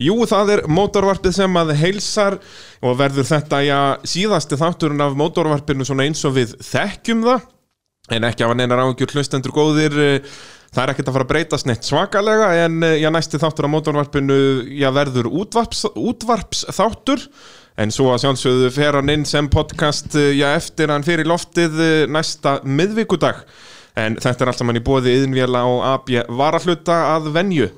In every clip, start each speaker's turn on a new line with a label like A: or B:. A: Jú, það er mótorvarpið sem að heilsar og verður þetta já, síðasti þátturinn af mótorvarpinu svona eins og við þekkjum það en ekki af hann einar áhengjur hlustendur góðir eh, það er ekkert að fara að breytast neitt svakalega en eh, já, næsti þáttur af mótorvarpinu já, verður útvarps, útvarpsþáttur en svo að sjálfsögðu fer hann inn sem podcast eh, já, eftir hann fyrir loftið eh, næsta miðvikudag en þetta er allt saman í bóði yðinvjala og AB varahluta að venju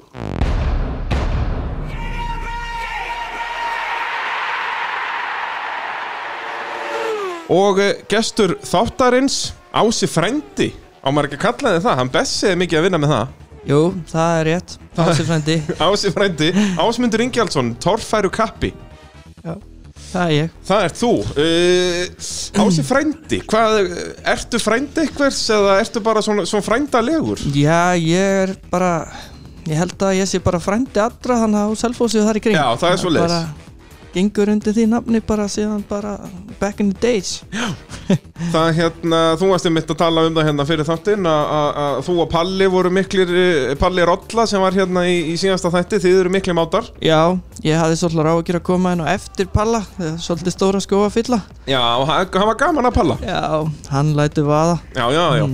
A: Og eh, gestur þáttarins Ási Frendi Á maður ekki að kalla þið það, hann bessiði mikið að vinna með það
B: Jú, það er rétt Ásir frændi,
A: Ási Frendi, Ásmundur Ingjaldsson, Torfæru Kappi
B: það er ég
A: Það ert þú uh, Ási Frendi, hvað, eh, ertu frendi eitthvers eða ertu bara svona, svona frændalegur?
B: Já, ég er bara Ég held að ég sé bara frændi allra Þannig að á Selfossi og þar í kring
A: Já, það er svoleiðis.
B: Bara gengur undir því nafni bara síðan bara Back in the days
A: Það hérna, þú varst einmitt að tala um það hérna fyrir þáttinn að- að að þú og Palli voru miklir, eh, Palli Rolla sem var hérna í, í síðasta þætti, þið eru mikli mátar
B: Já, ég hafði svolítið ráðgjur að koma inn á eftir Palla þegar Svolítið stóra skóa fylla
A: Já, og hann hann var gaman að Palla Mm.
B: Já, hann lætur vaða
A: Já, já, já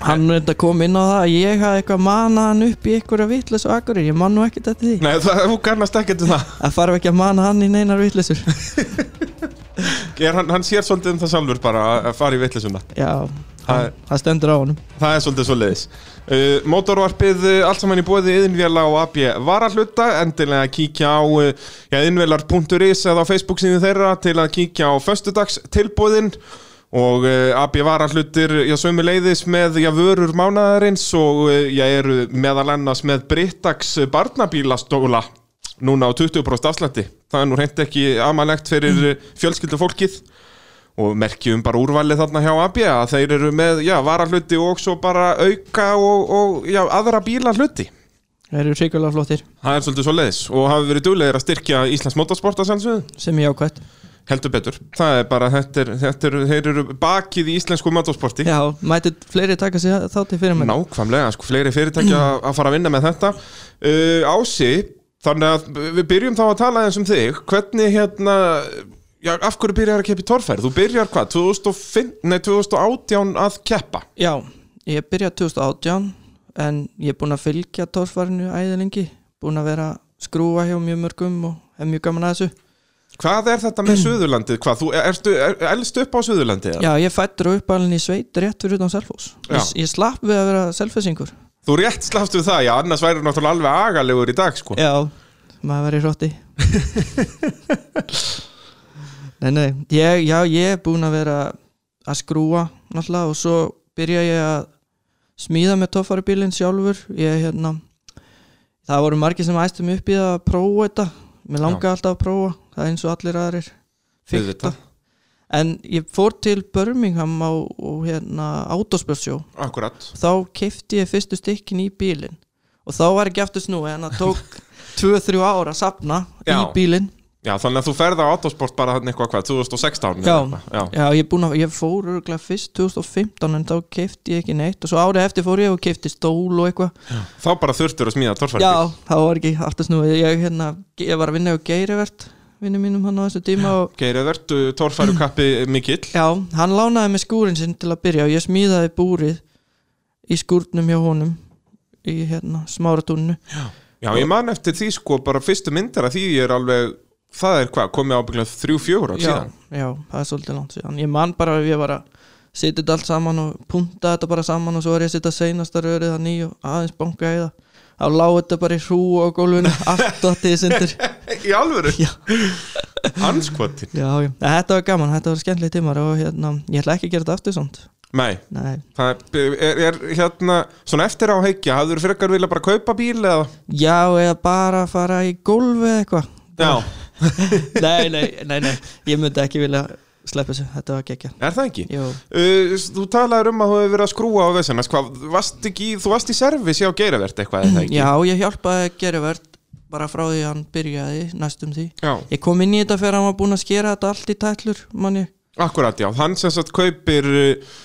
B: Hann reyndi að koma inn á það að ég hafði eitthvað manað hann upp í einhverja vitleis og akkurir, ég man nú ekkert eftir því
A: Nei, það, þú kannast ekkert um það
B: Það farf ekki að mana hann í neinar vitleisur
A: er, hann, hann sér svolítið um það sjálfur bara að- að fara í vitlisuna
B: Já,
A: Það er-
B: hann, það stendur á honum
A: það er svolítið svo leiðis uh, Mótorvarpið, uh, allt saman í bóði yðinvjala og AB varahluta endilega kíkja á uh, yðinvjalar.is eða á Facebook síðu þeirra til að kíkja á föstudags tilbúðin og uh, AB varahlutir já, sömu leiðis með já, vörur mánaðarins og uh, já, eru meðal annars með Brittax barnabílastóla núna á 20% afslætti það er nú reynd ekki amalegt fyrir mm. fjölskyldufólkið og merkjum bara úrvalið þarna hjá AB að þeir eru með, já, varahluti og svo bara auka og, og já, aðra bíla hluti.
B: Það eru hrikulega flottir
A: Það er svolítið svo leiðis og hafi verið duglegir að styrkja Íslands motorsport að sjálfsögðu,
B: sem ég ákvæmt
A: heldur betur. Það er bara, þetta er, þetta er, þeir eru bakið í íslensku motorsporti.
B: Já, mættu fleiri taka sér þá til fyrir mér
A: Nákvæmlega, sko, fleiri fyrirtæki að að fara að vinna með þetta uh, Ási, þannig að við byrjum þá að tala eins um þig Hvernig hérna, já, af hverju byrjar að keppa í torfæri? Þú byrjar hvað, 2005, nei, 2018 að keppa
B: Já, ég byrjaði 2018 en ég er búinn að fylgja torfarinu æðilengi, búinn að vera að skrúa hjá mjög mörgum og er mjög gaman að þessu
A: Hvað er þetta með Suðurlandið? Hvað, þú ertu, er, elst upp á Suðurlandið? eða?
B: Já, ég fættur og uppalinn í sveit rétt fyrir utan Selfos
A: Já.
B: ég, ég slapp við að vera selfessingur
A: Þú rétt slafst við það, já, annars væri náttúrulega alveg agalegur í dag, sko
B: Já, maður verið hrótti Nei, nei, ég, já, ég er búinn að vera að skrúa náttúrulega og svo byrja ég að smíða með toffarubílinn sjálfur ég hérna það voru margir sem æstu mig upp í það að prófa þetta mér langaði alltaf að prófa það er eins og allir aðrir fikta.
A: Auðvitað.
B: en ég fór til Birmingham á, og hérna autospörsjó
A: Akkurat
B: þá keipti ég fyrstu stykkin í bílinn og þá var ekki aftur snúi en það tók 2-3 ára að sapna í
A: Já.
B: bílinn
A: Já, þannig að þú ferð á autosport bara hann eitthvað hvað, 2016
B: Já.
A: eða eitthvað, já.
B: Já, ég, er búinn að, ég fór örgulega fyrst 2015 en þá keipti ég ekki neitt og svo árið eftir fór ég og keipti stól og eitthvað
A: Þá bara þurftur að smíða torfæri
B: Já, þá var ekki aftur snúi ég, hérna, ég var að vinna á Geirivert vinnu mínum hann á þessu tíma og
A: Geirið vertu torfæru kappi mikill
B: já, hann lánaði mig skúrin sinn til að byrja og ég smíðaði búrið í skúrnum hjá honum í hérna, smáratúninu
A: Já, ég man eftir því sko bara fyrstu myndar að því er alveg, það er hvað, komið ábygglega þrjú, fjögur ár
B: já,
A: síðan.
B: já, það er svolítið langt síðan Ég man bara að ég var að setja þetta allt saman og punta þetta bara saman og svo var ég að setja seinasta rörið að nýju og aðeins banka í það þá lág þetta bara í hrú á gólfinu allt og þetta sindur
A: Í alvöru?
B: Já.
A: Anskotin?
B: Já, já, En þetta var gaman, þetta var skemmtileg tímar og hérna, ég ætla ekki að gera þetta aftur svont
A: Nei,
B: Nei,
A: það er, er, er hérna, svona eftir á heikja, hafður frekar vilja bara kaupa bíl eða?
B: já, eða bara fara í gólfi eða eitthvað
A: Já.
B: nei, nei, nei, nei, ég myndi ekki vilja sleppa þessu, þetta var gekkja
A: Er það ekki?
B: Jú,
A: Uh, þú talaður um að þú hefur verið að skrúa á vesennast, hvað, varst ekki, þú varst í servis hjá geiravert eitthvað eða ekki?
B: já, ég hjálpaði Gerivert bara frá því að hann byrjaði næstum því
A: Já,
B: Ég kom inn í þetta fyrir að hann var búinn að skera þetta allt í tætlur, manni.
A: akkurat já, hann sem sagt kaupir uh,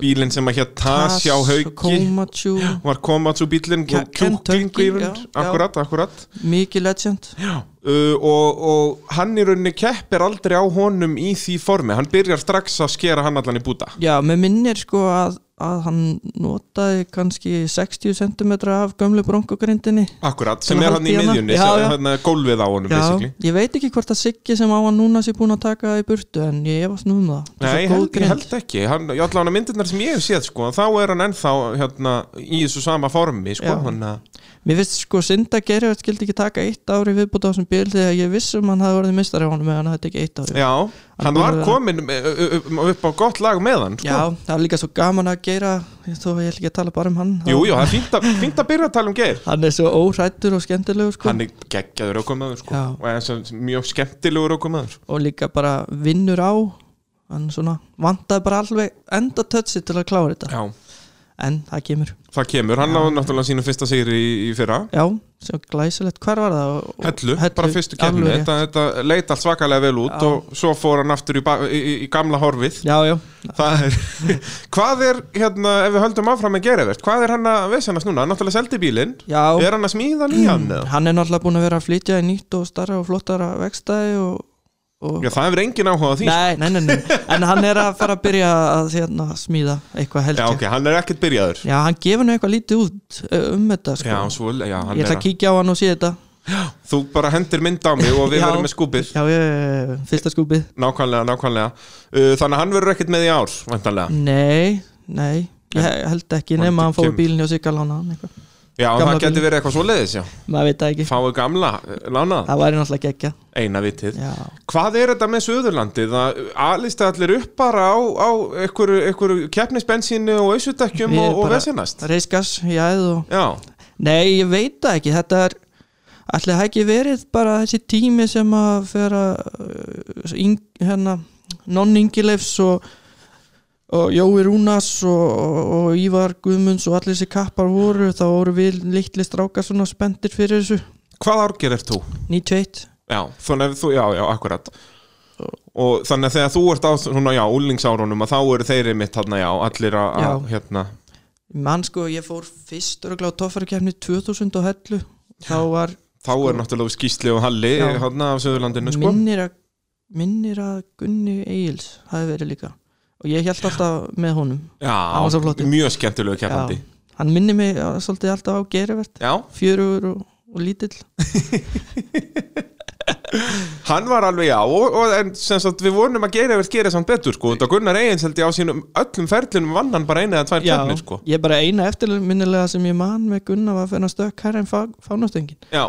A: bílinn sem að hér Tasjá Hauki
B: Komatsu,
A: var komat svo bílinn
B: Ke- Kentucky, já, já.
A: akkurat, akkurat
B: mikið legend
A: uh, og, og hann í rauninni keppir aldrei á honum í því formi hann byrjar strax að skera hann allan í búta
B: Já, með minnir sko að, að hann notaði kannski 60 cm af gömlu bronkogrindinni
A: akkurat, sem
B: Til að
A: er
B: halda
A: hann í
B: í hana.
A: miðjunni
B: Já,
A: sem-
B: já.
A: hérna, gólfið á honum
B: Já,
A: basically.
B: ég veit ekki hvort að Siggi sem á hann núna sé búin að taka það í burtu en ég efast nú um það Þetta er
A: Nei, ég
B: svo góð
A: held, ég
B: grind.
A: held ekki hann, Ég ætla hann að myndirnar sem ég hef séð sko, Þá er hann ennþá hérna, í þessu sama formi sko,
B: Já.
A: hann, að-
B: Mér finnst sko synd að gera þetta skildi ekki taka eitt ári viðbúta á þessum bíl þegar ég vissum hann hafði orðið mistari á honum eða þetta ekki eitt ári
A: Já, hann var
B: búið að-
A: komin e, upp- upp á gott lag með hann sko.
B: Já, það er líka svo gaman að gera þó að ég ætla ekki að tala bara um hann
A: Jú, jú, það er fínt að, fínt að byrja að tala um Geir
B: Hann er svo órættur og skemmtilegur sko
A: Hann er geggjaður aukumæður sko.
B: Já.
A: og er sem- sem mjög skemmtilegur aukumæður
B: og líka bara vinnur á hann svona vantaði bara alveg enda tötsi til að klára þetta
A: Já,
B: en það kemur
A: það kemur, hann náði náttúrulega sínu fyrsta sigri í, í fyrra
B: Já, sem glæsilegt, hvar var það? Og-
A: Hellu, bara fyrstu kemni
B: alveg rétt.
A: þetta, þetta leit allt svakalega vel út
B: Já.
A: og svo fór hann aftur í, ba- í, í- í gamla horfið
B: Já, já,
A: Það er, hvað er, hérna, ef við höldum áfram með Gerevert, hvað er hann að vesenast núna? Hann náttúrulega seldi bílinn,
B: já
A: er hann að smíða nýjan eða?
B: Hann er náttúrulega búin að vera að flytja í nýtt og starra og flottara vegstæði og, og...
A: Já, það hefur engin áhuga á því.
B: Nei, nei, nei, nei, en hann er að fara að byrja að hérna, smíða eitthvað held
A: Já,
B: ég
A: ok, hann er ekkert byrjaður.
B: Já, hann gefur nú eitthvað lítið út ö, um þetta sko.
A: Já, svo, já, hann
B: Ég
A: er
B: ætla að
A: að,
B: kíkja á hann og sé þetta
A: þú bara hendir mynd á mig og við
B: Já.
A: verum með skúpið.
B: Já, ég, fyrsta skúpið
A: Nákvæmlega, nákvæmlega. Uh, þannig að hann verður ekkert með í ár,
B: Mm.
A: vantanlega.
B: Nei, nei, ég held ekki
A: Vonandi
B: nema hann fóði
A: kemur.
B: bílinn hjá sig að lána hann eitthvað
A: Já, en
B: Gamla
A: það getur
B: bílinn.
A: verið eitthvað svo leiðis, já.
B: Maður veit það ekki,
A: Fáið gamla, lánað,
B: það væri náttúrulega gekkja
A: eina vitið.
B: Já,
A: Hvað er þetta með Suðurlandið? Alist allir upp bara á, á einhverju, einhverju keppnisbensínu og ausudekkjum
B: Við
A: og, og
B: bara-
A: vesenast?
B: reiskas, jæð og
A: Já,
B: Nei, ég veit það ekki, þetta er ætli það ekki verið bara þessi tími sem að fer að uh, yng, hérna, non-Ingileifs og, og Jói Rúnas og, og, og Ívar Guðmunds og allir þessi kappar voru þá voru við litli strákar svona spendir fyrir þessu
A: Hvað árger er þú?
B: 91
A: Já, þannig að þú, já, já, akkurat Og þannig að þegar þú ert á svona, já, úlingsárunum að þá eru þeirri mitt þarna, já, allir að, að,
B: Já.
A: hérna
B: mann sko, ég fór fyrst örgulega á tóffarikefni 2000 og hellu þá var
A: þá er náttúrulega skýsli og halli
B: Sko. Já.
A: hérna af Söðurlandinu, sko
B: minnir að, minnir að Gunni Egils hafi verið líka og ég held alltaf með honum Hann var svo
A: Já,
B: flottur.
A: mjög skemmtilegu keppandi
B: Já, hann minnir mig á- svolítið alltaf á gerivert
A: já.
B: fjörugur og, og lítill
A: hann var alveg, já, og, og en sem sagt við vonum að gera verið gera samt betur, sko og Gunnar Egins held ég á sínum öllum ferlunum vann hann bara eina eða tvær keppnir, sko
B: ég er bara eina eftirminnilega sem ég man með Gunnar var að finna stökk hærra en fá, fánastöngin
A: Já,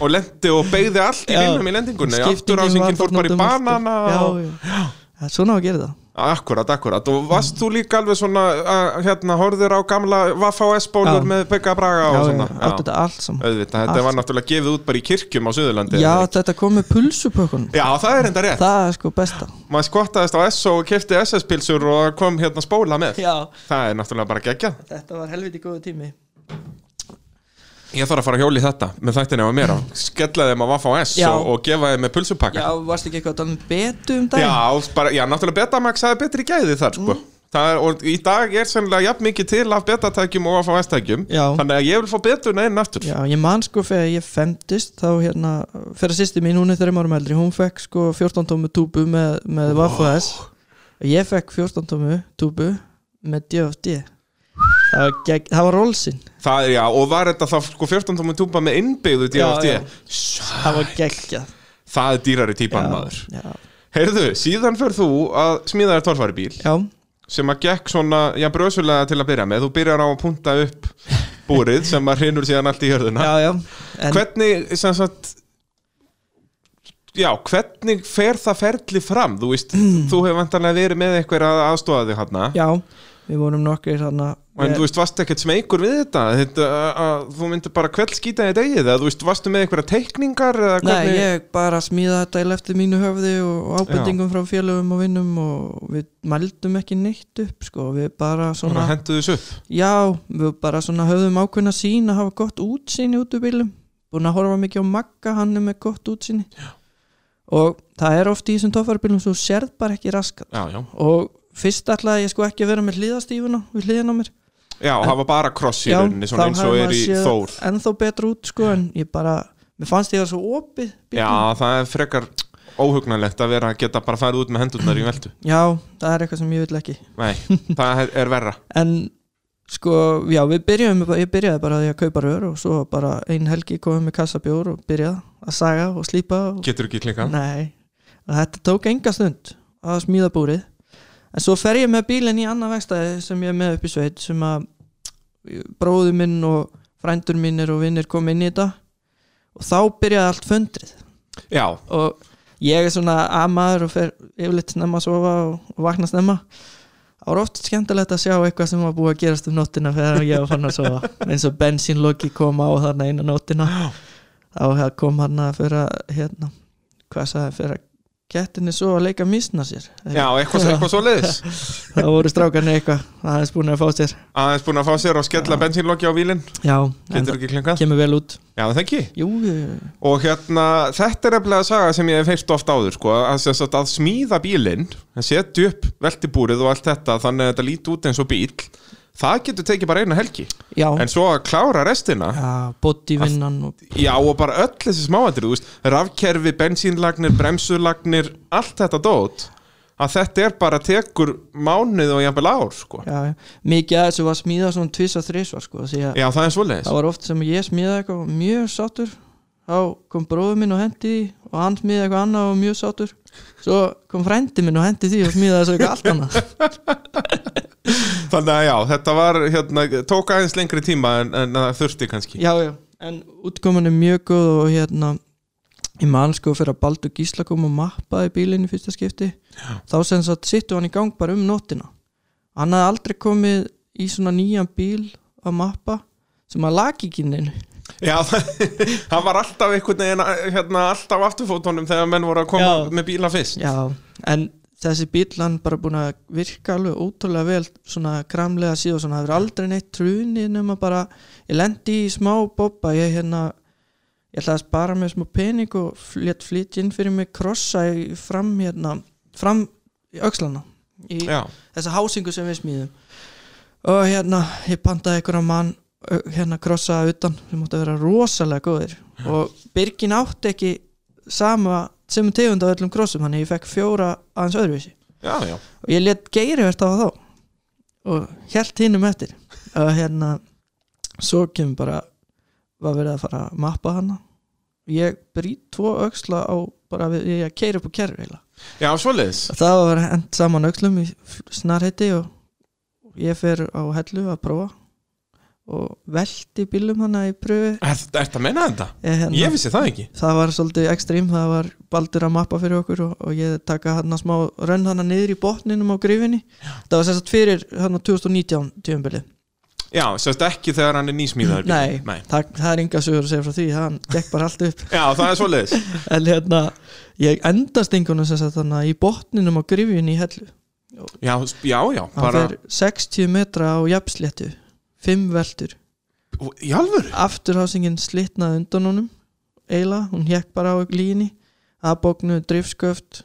A: og lendi og beigði allt í
B: Já.
A: vinnum í lendingunni, aftur ásingin fór bara í banana
B: um sko. já,
A: og-
B: já. Það er Svona á að gera það
A: Akkurat, akkurat og varst þú líka alveg svona að, hérna, horður á gamla Vaffa og S-bólur
B: Já.
A: með Pekka Braga og
B: já,
A: svona
B: já, átti þetta allt saman
A: Auðvitað, þetta
B: Allt.
A: var náttúrulega gefið út bara í kirkjum á Suðurlandi
B: Já,
A: eða ekki?
B: þetta kom með pulsupökkunum
A: já það er enda rétt
B: Það er sko besta
A: Maður skottaðist á S og kefti SS-pilsur og kom hérna spóla með
B: Já,
A: Það er náttúrulega bara geggjað
B: þetta var helviti góðu tími
A: Ég þarf að fara að hjóli þetta með þættinni á mér að skella þeim á Vaffa og S
B: Já.
A: og, og gefa þeim með pulsupakka
B: Já, varst ekki eitthvað að tala um betu um
A: Já,
B: daginn?
A: bara, já, náttúrulega Betamax aðeins betri gæði þar, sko
B: Mm.
A: Það er, og í dag er sennilega jafn mikið til af betatækjum og af S-tækjum
B: Já.
A: Þannig að ég vil fá betuna inn aftur
B: Já, ég man sko þegar ég femtist þá hérna, fyrir sýsti mín, hún er þreim árum eldri hún fekk sko 14 tómu túbu með, með wow. Vafu S ég fekk 14 tómu túbu með DFD það var, gegn, það var rólsinn,
A: Það er já, og var þetta þá sko 14 tómum túpa með innbyggðu DFD
B: Já, já. það var geggjað
A: Það er dýrari típan maður
B: já, já,
A: Heyrðu, síðan fyrir þú að smíða þér torfari bíl
B: já,
A: sem að gekk svona, já brösulega til að byrja með þú byrjar á að punta upp búrið sem að hrinur síðan allt í jörðuna
B: já, já. En,
A: Hvernig, sem sagt Já, hvernig fer það ferli fram? Þú veist, þú hefur vantarlega verið með einhver að aðstofa þig hana
B: já, við vorum nokkri þarna
A: En þú veist, varst ekkert smeykur við þetta? þetta að, að, þú myndir bara kveldskýta í degið eða þú veist, varstu með einhverja teikningar eða
B: Nei,
A: hvernig?
B: ég bara smíða þetta í lefti mínu höfði og og ábendingum frá félögum og vinnum og við mældum ekki neitt upp sko, við bara
A: Bara
B: svona
A: hendu þessu upp
B: Já, við bara svona höfðum ákveðna sín að hafa gott útsýni út úr bílum búin að horfa mikið á Magga, hann er með gott útsýni Já. og það er oft í þessum tófarbílum svo þú sérð bara ekki raskat
A: Já, já,
B: og fyrst ætlaði ég sko ekki að vera með hlýðastífuna við hlýðin á mér
A: Já, hafa bara kross í
B: Já,
A: rauninni svona
B: þá
A: eins og
B: hafði
A: er
B: maður
A: í
B: séð
A: Þór
B: ennþó betur út sko en ég bara mér fannst ég það svo opið
A: Já,
B: bíllinn.
A: það er frekar óhugnalegt að vera að geta bara farið út með hendurnar í veldu
B: já, það er eitthvað sem ég vil ekki
A: Nei, það er- er verra
B: en sko, já, við byrjuðum ég byrjaði bara að ég að kaupa rör og svo bara ein helgi komum með kassabjór og byrjaði að saga og slípa og,
A: Getur ekki klikkað
B: nei, og þetta tók enga stund að smíða búrið en svo fer ég með bílinn í annað vegstæði sem ég er með upp í sveit sem að bróður minn og frændur mínir og vinnir kom inn í þetta og þá byrjaði allt föndrið
A: Já,
B: og ég er svona amaður og fer yfirleitt snemma að sofa og, og vakna snemma það var oft skemmtilegt að sjá eitthvað sem var búið að gerast um nóttina þegar ég var fann að sofa eins og bensínloki kom á þarna eina nóttina þá he- kom hann að fyrir að hérna, hvað sagði, fyrir að kettinni svo að leika misna sér
A: já, eitthvað, eitthvað svo leiðis
B: það voru strákarnir eitthvað aðeins búin að fá sér
A: Aðeins búin að fá sér og skella bensínlokki á bílinn
B: já, en
A: Getur
B: það
A: ekki klikkað
B: kemur vel út
A: Já, það ekki
B: jú, jú,
A: Og hérna, þetta er eflega saga sem ég hef heyrt oft áður sko, að, sem sagt að smíða bílinn að setja upp veltibúrið og allt þetta þannig að þetta líti út eins og bíl það getur tekið bara eina helgi
B: já,
A: en svo að klára restina
B: já bodyvinnan og
A: Já og bara öll þessi smáættir rafkerfi, bensínlagnir, bremsulagnir allt þetta dót að þetta er bara tekur mánuð og jafnvel ár sko Já,
B: já, já. mikið að þessu var smíða svona tvís og þrísvar sko, því að
A: það er svoleiðis
B: það var oft sem ég smíðaði eitthvað og mjög sátur þá kom bróður minn og hendi því og hann smíðaði eitthvað annað og mjög sátur svo kom frændi minn og hendi því og smíðaði þessu eitthvað allt annað
A: Þannig að já, þetta var hérna, tók aðeins lengri tíma en, en það þurfti kannski
B: já, já, en útkoman er mjög góð og hérna í mann sko fyrir að Baldur Gísla kom og mappaði bílinn í fyrsta skipti já. þá sem sagt sittu hann í gang bara um nóttina hann hafði aldrei komið í svona nýjan bíl að mappa sem að laki ekki neinu
A: Já, það var alltaf einhvern veginn hérna, alltaf afturfótunum þegar menn voru að koma
B: Já.
A: með bíla fyrst
B: Já, en þessi bíl hann bara búin að virka alveg ótrúlega vel svona kramlega síðan svona, það er aldrei neitt truni nema bara, ég lendi í smá bobba, ég hérna ég ætlaði að spara mig smá pening og létt flytja inn fyrir mig krossa í fram hérna, fram í öxlana í
A: Já,
B: þessa hásingu sem við smíðum og hérna, ég pantaði einhverja mann ö, hérna krossaða utan sem mútti að vera rosalega góðir og Birgin átti ekki sama sem tegund á öllum krossum þannig að ég fekk fjóra aðeins öðruvísi
A: já, já
B: og ég let geirivert á þá og held hinnum eftir og hérna svo kemur bara var verið að fara að mappa hana ég brýt tvo öxla á bara við, ég keiri upp á kerfi heila
A: Já, svoleiðis
B: Og Það var að vera hent saman aukslum í snarheiti og ég fer á hellu að prófa og velti bílum hana í pröfi
A: Er þetta að menna þetta?
B: ég, hérna,
A: Ég vissi það ekki
B: Það var svolítið ekstrím, það var baldur að mappa fyrir okkur og, og ég taka hann smá rönn hana niður í botninum á grifinni Það var sérst fyrir hérna, hann 2019 tjömbili
A: Já, sérst ekki þegar hann er nýsmíðaður bíll.
B: Nei,
A: Nei
B: Það, það er enga sögur að segja frá því, hann gekk bara allt upp
A: Já, það er svoleiðis
B: En hérna, ég endast einhvern sem sagt þannig í botninum á grifinni í hellu
A: Já, s- já, já
B: hann
A: bara,
B: fer 60 metra á jafnsléttu 5 veltur
A: Í alvöru?
B: afturhásingin slitnaði undan honum eila, hún hekk bara á líni aðbóknuðu driftsköft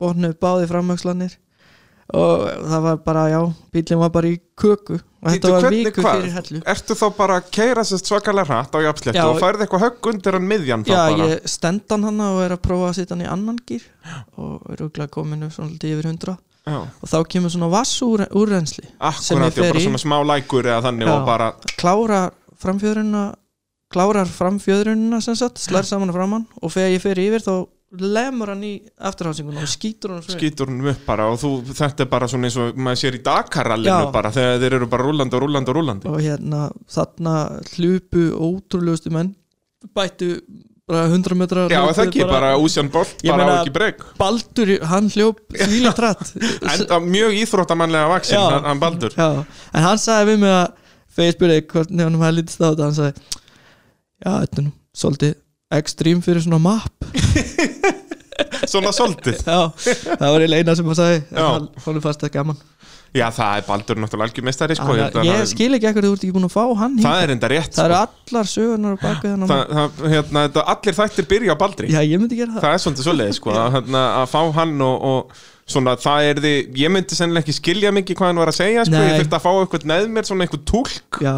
B: bóknuðu báði framöxlanir og það var bara, já bílinn var bara í köku og
A: Bíddu,
B: þetta var
A: hvernig-
B: viku
A: hvað?
B: fyrir hellu
A: Ertu þá bara að keira sérst svakalega hratt á jafnsléttu
B: Já.
A: og færði eitthvað högg undir hann miðjan þá
B: já,
A: bara
B: ég stendan hana og er að prófa að sitja hann í annan gýr og er auðvitað kominu svona lítið yfir 100
A: Já,
B: og þá kemur svona vassúrrensli sem ég
A: akkurat, já,
B: fer
A: bara
B: í.
A: svona smá lækur eða þannig
B: Já.
A: og bara
B: klárar framfjöðrunna klárar framfjöðrunna sem sagt slær saman og framann og þegar ég fer yfir þá lemur hann í afturhásingun og skýtur hann Skýt.
A: skýtur hann upp bara og þú, þetta er bara svona eins og maður sér í Dakarallinu
B: Já.
A: bara þegar þeir eru bara rúlandi og rúlandi og rúlandi
B: og hérna þarna hlupu ótrúlegustu menn bættu bara 100 metrar
A: Já,
B: hlaupið
A: það ekki, bara Úsjan Bolt
B: Ég
A: bara á
B: meina-
A: ekki breg
B: Baldur, hann hljóp svílíkt hratt
A: Enda mjög íþróttamannlega vaksin,
B: Já.
A: hann- hann Baldur
B: Já, en hann sagði við mig að þegar ég spurði hvernig hann hafði lítið státt hann sagði, já, þetta er nú svolítið ekstrím fyrir svona mapp
A: Svona soldið
B: Já, það var eiginlega eina sem hann sagði
A: Já.
B: en hann- Honum fannst það gaman
A: Já, það er Baldur náttúrulega algjörmestari sko,
B: Hann-
A: ég held að
B: ég
A: hann-
B: skil ekki ekkur þú ert ekki búin að fá hann
A: Það
B: hingað.
A: er enda rétt
B: það eru
A: sko.
B: allar sögurnar á baka þennan
A: það, það, hérna, þetta, Allir þættir byrja á Baldri
B: já ég myndi gera það
A: Það er svolítið svoleiði sko, að, hérna, að fá hann og, og svona, það er því Ég myndi sennilega ekki skilja mikið hvað hann var að segja sko, Ég
B: Nei.
A: þurfti að fá eitthvað neð mér, svona eitthvað túlk
B: já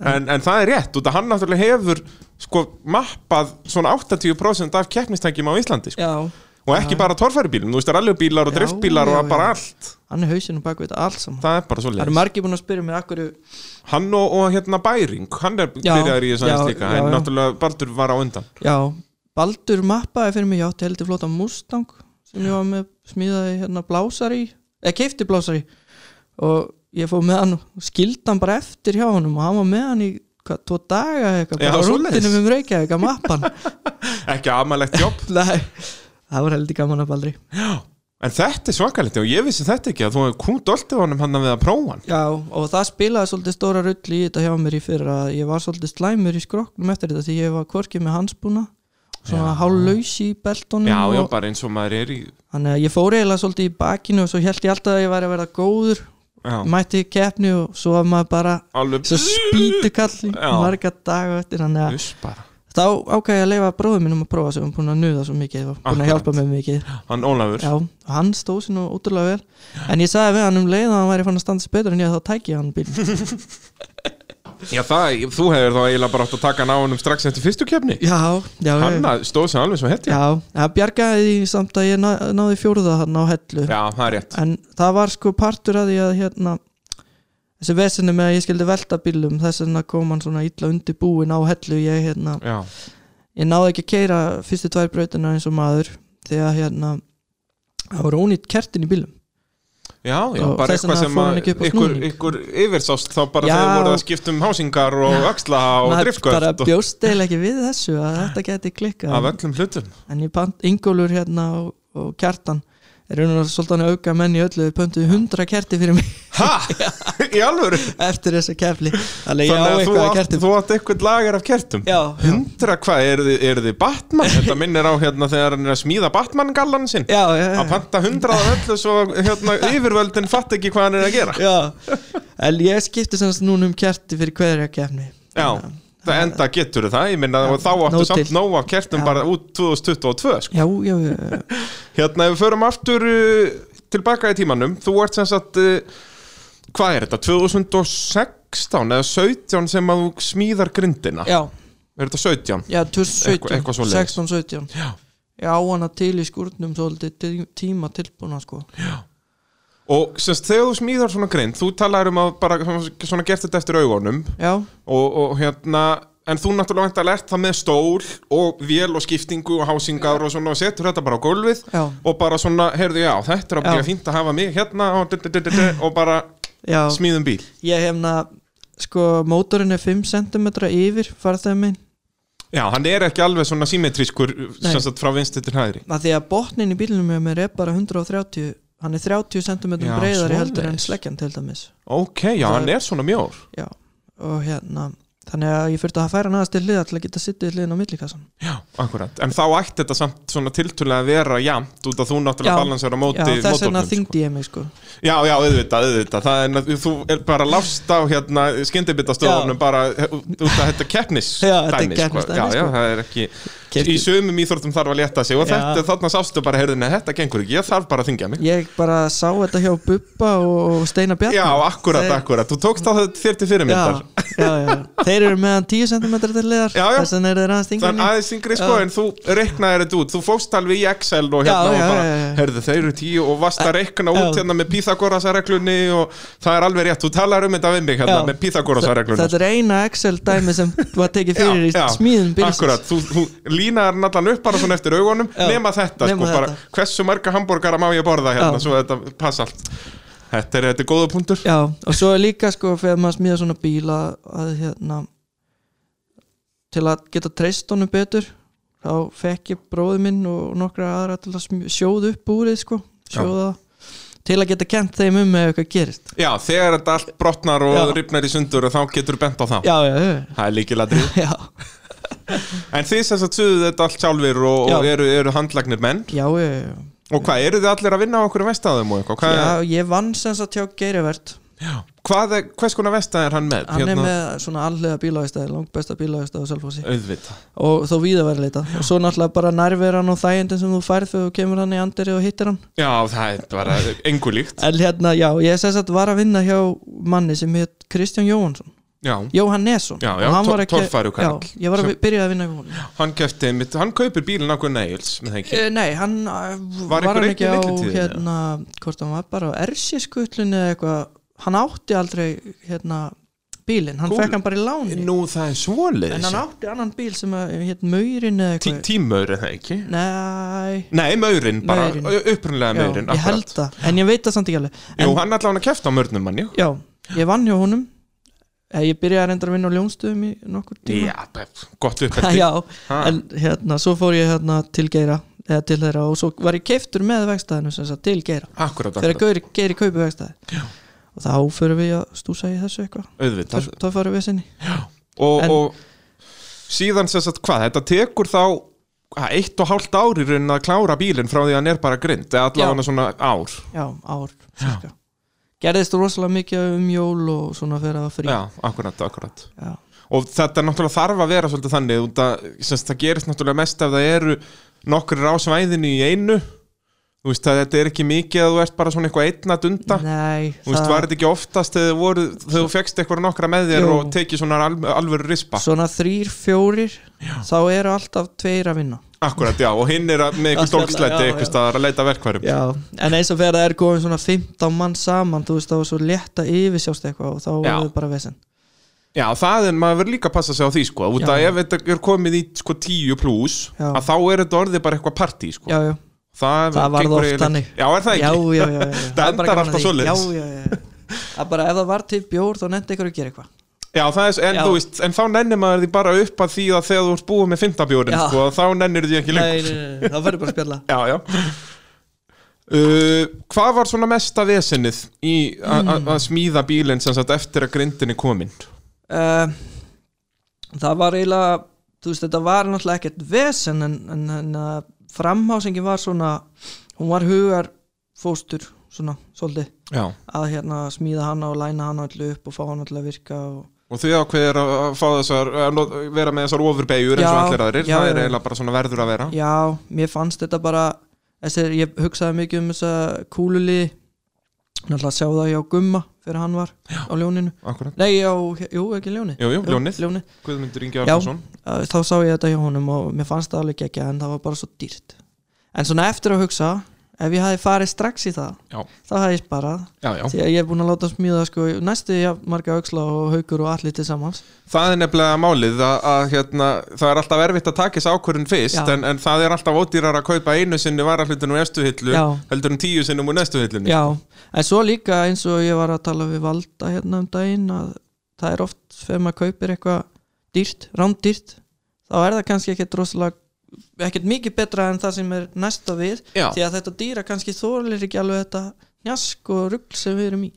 A: en, en það er rétt, út að hann náttúrulega hefur sko, mappað svona 80% af keppnistækjum á Íslandi sko.
B: já
A: og ekki bara torfæribílum, þú veist, rallybílar og
B: Já,
A: driftbílar
B: já,
A: og bara
B: já.
A: allt
B: hann er hausinn á baka þetta allt saman
A: það er bara svo
B: það eru margir búin að spyrja mig akkur
A: hann og, og hérna Bæring, hann er
B: Já,
A: byrjaður í þess aðeins
B: já,
A: líka
B: já,
A: en
B: já.
A: náttúrulega Baldur var á undan
B: já Baldur mappaði fyrir mig já til heldur flóta Mustang sem ég var með smíðaði hérna blásari eða keifti blásari og ég fóð með hann og skildi hann bara eftir hjá honum og hann var með hann í hvað, tvo daga eða eitthvað
A: Já,
B: bara á
A: svoleiðis.
B: rúndinum um Reykjavík að mappa hann
A: ekki amalegt jobb,
B: Nei, það var heldur gaman að Baldri
A: en þetta er svakalegt og ég vissi þetta ekki að þú hefði kúnt oltið honum hann við að prófa hann
B: Já, og það spilaði svolítið stóra rull í þetta hjá mér í fyrra að ég var svolítið slæmur í skroknum eftir þetta því ég var hvorkið með hansbúna svona hálflaus í beltunum
A: já, já,
B: og,
A: bara eins og maður er í
B: þannig að ég fór eiginlega svolítið í bakinu og svo held ég alltaf að ég væri að verða góður
A: já,
B: mætti í keppni og svo var maður bara
A: Mm. alveg
B: svo spýtukall í
A: Já.
B: marga daga eftir þannig að
A: uss bara
B: þá ákæði ég að leifa bróðum mínum að prófa sem var búin að nuða svo mikið og búin að
A: Akkurat.
B: hjálpa mér mikið
A: hann Ólafur,
B: Já, og hann stóð sér nú útrúlega vel En ég sagði við hann um leið að hann væri fann að standa sér betur en ég þá tæki ég hann bíl
A: já það, þú hefur þá eiginlega bara átt að taka hann á honum strax eftir fyrstu kefni
B: Já, já,
A: hann
B: já,
A: að- stóð sem alveg svo hett já,
B: já Það bjargaði því samt að ég ná, náði fjórða hann á hellu
A: það er rétt
B: En það var sko partur að því að hérna Þessi vesinu með að ég skildi velta bílum Þess vegna kom hann svona illa undir búin á hellu Ég hérna,
A: já,
B: ég náði ekki að keira fyrstu tvær brautina eins og maður Þegar hérna Það var ónýtt kertin í bílum
A: já, já
B: Og
A: bara
B: þess vegna
A: eitthvað sem
B: fór
A: að
B: hann ekki upp á
A: ykkur,
B: snúning.
A: ykkur yfirsást þá bara
B: Já.
A: þegar voru að skipta um hásingar og axla og
B: Maður bara
A: driftgöld og
B: bjóst eiginlega ekki við þessu að þetta geti klikkað
A: af öllum hlutum
B: en ég pant Ingólfur hérna og, og Kjartan er unnur svolítið að auka menn í öllu þau pöntuðu hundra kerti fyrir mig
A: ha, í alvöru
B: eftir þessa kefli
A: Þannig
B: þannig ég á
A: að þú
B: eitthvað að
A: átt,
B: kerti
A: þú átt eitthvað lagar af kertum
B: já, já,
A: Hundra hvað, eru þið, eru þið Batman? Þetta minnir á hérna þegar hann er að smíða Batman-gallan sinn
B: já, já,
A: Að panta hundrað af öllu svo hérna yfirvöldin fatt ekki hvað hann er að gera
B: já. en ég skipti semst núna um kerti fyrir hverja kefni
A: Já, það enda getur það, ég minna og þá áttu
B: nóg
A: samt
B: til.
A: nóg af kertum
B: Já.
A: bara út 2022 sko.
B: já, já, já,
A: Hérna ef við förum aftur uh, tilbaka í tímanum, þú ert sem sagt uh, hvað er þetta, 2016 eða 17 sem að þú smíðar grindina
B: já,
A: Er þetta 17?
B: já
A: Eitthvað- eitthvað
B: 2017
A: svoleiðis.
B: 16, 17
A: Já.
B: já, hann að til í skúrnum svolítið tí- tíma tilbúna sko
A: Og semst þegar þú smíðar svona grind þú talar um að bara svona svona gert þetta eftir augunum
B: já,
A: og, og hérna en þú náttúrulega vant að lert það með stól og vél og skiptingu og hásingar og svona og setur þetta bara á gólfið
B: Já.
A: og bara svona, heyrðu já, þetta er að byrja
B: Já.
A: fínt að hafa mig hérna og, d -d -d -d -d og bara
B: já
A: smíðum bíl
B: ég hefna sko, mótorinn er 5 cm yfir farþemin
A: Já, hann er ekki alveg svona symmetrískur
B: Nei.
A: sem sagt frá vinstri til hægri
B: að því að botnin í bílunum hjá mér er bara 130 hann er 30 cm
A: Já,
B: breiðari
A: svoleiðis.
B: heldur en sleggjan til dæmis
A: Ok, já,
B: Það-
A: hann er svona mjór
B: já, og hérna þannig að ég fyrir að færa hann aðeins til hliða til að geta sittið hliðin á millikassan
A: Já, akkurat, en þá ætti þetta samt svona tiltölulega að vera jæmt út að þú náttúrulega
B: Já.
A: balansar á móti
B: já, þess vegna
A: mótornum, sko.
B: þyngdi ég mig sko
A: Já, já, auðvitað, auðvitað Það er, nat- þú er bara lást á hérna skyndibittastöðunum bara he- út út að þetta keppnis
B: Já, þetta er
A: dæmi, sko.
B: keppnisdæmi,
A: Já, já,
B: sko.
A: það er ekki
B: Keypti-
A: Í sömum íþórtum þarf að létta sig og
B: Já.
A: þetta, þarna sástu bara, heyrðu, neða, þetta gengur ekki ég þarf bara að þingja mig
B: ég bara sá þetta hjá Bubba og Steina Bjarnar
A: Já, akkurat,
B: Þeir-
A: akkurat, þú tókst á þetta þér til fyrirmyndar
B: já, já, já. þeir eru meðan 10 cm til hliðar
A: Já, já.
B: þess vegna eru þeir aðeins þyngri en
A: Þannig
B: ég.
A: aðeins yngri sko,
B: Já.
A: en þú reiknaði þetta út Þú fókst alveg í Excel og
B: Já,
A: hérna
B: já,
A: og bara,
B: já, já.
A: heyrðu, þeir eru tíu og vast að reikna
B: Já.
A: út hérna með Pythagorasarreglunni og það er alveg rétt, þú talar um þetta við mig hérna
B: Já.
A: með Pythagorasarreglunni
B: þetta er eina Excel dæmi sem var tekið fyrir í smíðum bílsins
A: Akkurat, þú, þú línaðar hann allan upp bara svona eftir augunum
B: Já.
A: nema þetta,
B: Nema
A: sko, bara
B: þetta.
A: hversu marga hambúrgara má ég borða hérna
B: Já.
A: svo þetta passa allt Þetta er, þetta er góða punktur
B: Já, og svo er líka sko fyrir maður smíða svona bíla að hérna til að geta treyst honum betur þá fekk ég bróði minn og nokkra aðra til að smí- sjóða upp úrið sko, sjóða til að geta kent þeim um með eitthvað gerist
A: Já, þegar þetta allt brotnar og
B: Já.
A: ripnar í sundur og þá getur bent á það
B: Já, já, já,
A: Það er líkilatri
B: já,
A: En þið sem sagt suðu þetta allt sjálfur og, og
B: Já.
A: eru, eru handlagnir menn
B: já, já, já.
A: Og hvað, eru þið allir að vinna á einhverju vestæðum og eitthvað? Hvað,
B: Já, ég vann sem sagt hjá Geirivert
A: já. Hvað er, hvers konar vestæð er hann með? Hérna-
B: Hann er með svona allega bílavægstæði, langbesta bílavægstæði á Selfossi
A: Auðvitað.
B: og þó víðaværileita og svo náttúrulega bara nærveran og þægindin sem þú færð þegar þú kemur hann í andri og hittir hann
A: Já, það er bara engu líkt.
B: En hérna, já, ég sem sagt var að vinna hjá manni sem heit Kristján Jóhansson
A: Já,
B: Jóhannesson
A: Já, já,
B: Og hann var
A: tor-
B: ekki-
A: torfæru karl.
B: Já, ég var að byrja að vinna hjá honum
A: hann kefti einmitt, hann kaupir bílinn ákveð neils, með það ekki.
B: Eh, Nei, hann eh,
A: Var
B: var,
A: einhver
B: hann
A: einn í
B: ekki á
A: millitíðinni, eða?
B: hérna, hvort hann var bara á Ersískullinu eða eitthvað hann átti aldrei hérna bílinn, hann
A: Kúl.
B: fekk hann bara í láni
A: Eh, Nú, það er
B: en
A: svoleiðis.
B: hann átti annan bíl sem að, hérna Möyrin eða
A: Tí-
B: eitthvað
A: Tímaur er það ekki?
B: Nei,
A: Nei, maurinn bara,
B: Maurinn.
A: upprunlega
B: já,
A: maurinn,
B: ég held það, en ég veit það samt ekki alveg en,
A: Jú, hann allavega kefti á maurnum manni.
B: Já, ég vann hjá honum Eh, Ég byrjaði að reynda að vinna á ljónstöðum í nokkur tíma
A: Já, pep, gott uppeldi.
B: Já,
A: Ha.
B: en hérna, svo fór ég hérna til Geira eða til þeirra og svo var ég keiftur með vegstæðinu sem sagt til Geira
A: Akkurat,
B: þegar
A: akkurat,
B: Geiri, Geiri kaupi vegstæði
A: Já.
B: og þá förum við að stúsa í þessu eitthvað
A: auðvitað.
B: þá farum við sinni
A: og,
B: En-
A: og síðan sem sagt hvað, þetta tekur þá ha, eitt og hálft ár í raunin að klára bílinn frá því að hann er bara grind eða
B: Já.
A: allavega hann svona um ár
B: Já, ár cirka. Gerðist rosalega mikið um jól og svona fyrir að frí
A: Já, akkurat, akkurat
B: Já.
A: og þetta náttúrulega þarf að vera svolítið þannig út að semst, það gerist náttúrulega mest ef það eru nokkur á svæðinu í einu þú veist að þetta er ekki mikið að þú ert bara svona eitthvað einn að dunda
B: Nei,
A: þú veist, var þetta ekki oftast þegar þú voru- þegar þú fegst eitthvað nokkra með þér
B: Jú.
A: og tekið svona al, alvöru rispa
B: svona þrýr, fjórir þá eru alltaf tveir að vinna
A: akkurat, já, og hinn er að- með eitthvað
B: Að spjalla,
A: stólkslæti
B: já,
A: eitthvað
B: já.
A: staðar að leita verkværum
B: Já, en eins og þegar það er komin svona 15 mann saman, þú veist, þá er svo létt að yfirsjást eitthvað og þá
A: Já.
B: er það bara vesen
A: Já, það er, maður verður líka að passa sig á því sko út að
B: Já.
A: ef þetta er komið í sko 10 plus
B: Já.
A: að þá er þetta orðið bara eitthvað partí sko
B: Já, já,
A: Það,
B: Það varð
A: gengur
B: oft
A: eiginlega-
B: þannig.
A: Já, er það
B: já, já,
A: ekki?
B: já, já, já. Það er bara
A: endar
B: gaman
A: alltaf
B: að því.
A: svoleiðis.
B: Já, já, já, já Það er bara ef það var til bjór þá nefndi ykkur að gera eitthvað
A: Já, það er, en
B: Já.
A: þú veist, en þá nennir maður því bara upp að því að þegar þú ert búið með 15 bjórin
B: Já.
A: sko, þá nennir því ekki lengur
B: Nei, nei, nei, nei, þá verður bara að spjalla
A: Já, já uh, Hvað var svona mesta vesenið í a-
B: Hmm.
A: a- að smíða bílinn sem sagt eftir að grindin er komin?
B: uh, Það var eiginlega, þú veist, þetta var náttúrulega ekkert vesen en, en, en uh, framhásingin var svona, hún var hugar fóstur, svona, svolítið
A: Já
B: að hérna smíða hana og læna hana allu upp og fá hana allu að virka og
A: Og því ákveðir að að fá þessar, að not- vera með þessar ofurbegjur eins og
B: Já,
A: allir aðrir,
B: já,
A: það er
B: já.
A: eiginlega bara svona verður að vera.
B: Já, mér fannst þetta bara þessir, ég hugsaði mikið um þessa kúluli náttúrulega sjá það hjá Gumma fyrir hann var á ljóninu
A: Akkurat.
B: Nei, já, jú, ekki ljóni
A: Jú, jú, ljónið.
B: ljóni.
A: Guðmundur Ingi
B: Já,
A: Arnason
B: uh, þá sá ég þetta hjá honum og mér fannst það alveg ekki en það var bara svo dýrt En svona eftir að hugsa ef ég hafi farið strax í það
A: Já.
B: þá hafi ég sparað
A: já, já.
B: því að ég er búin að láta smíða sko, næstu já, marga auksla og haukur og allir til samans
A: Það er nefnilega málið að, að hérna, það er alltaf erfitt að taka þessi ákvörðin fyrst
B: Já.
A: en, en það er alltaf ódýrar að kaupa einu sinni varahlutunum í næstu hillu
B: Já.
A: heldur en tíu sinnum úr næstu hillunni
B: Já, en svo líka eins og ég var að tala við valda hérna um daginn að það er oft þegar maður kaupir eitthvað dýrt, rándýrt þá er það kannski ekkert rosalega ekkert mikið betra en það sem er næsta við
A: Já.
B: því að þetta dýra kannski þólir ekki alveg þetta njask og rugl sem við erum í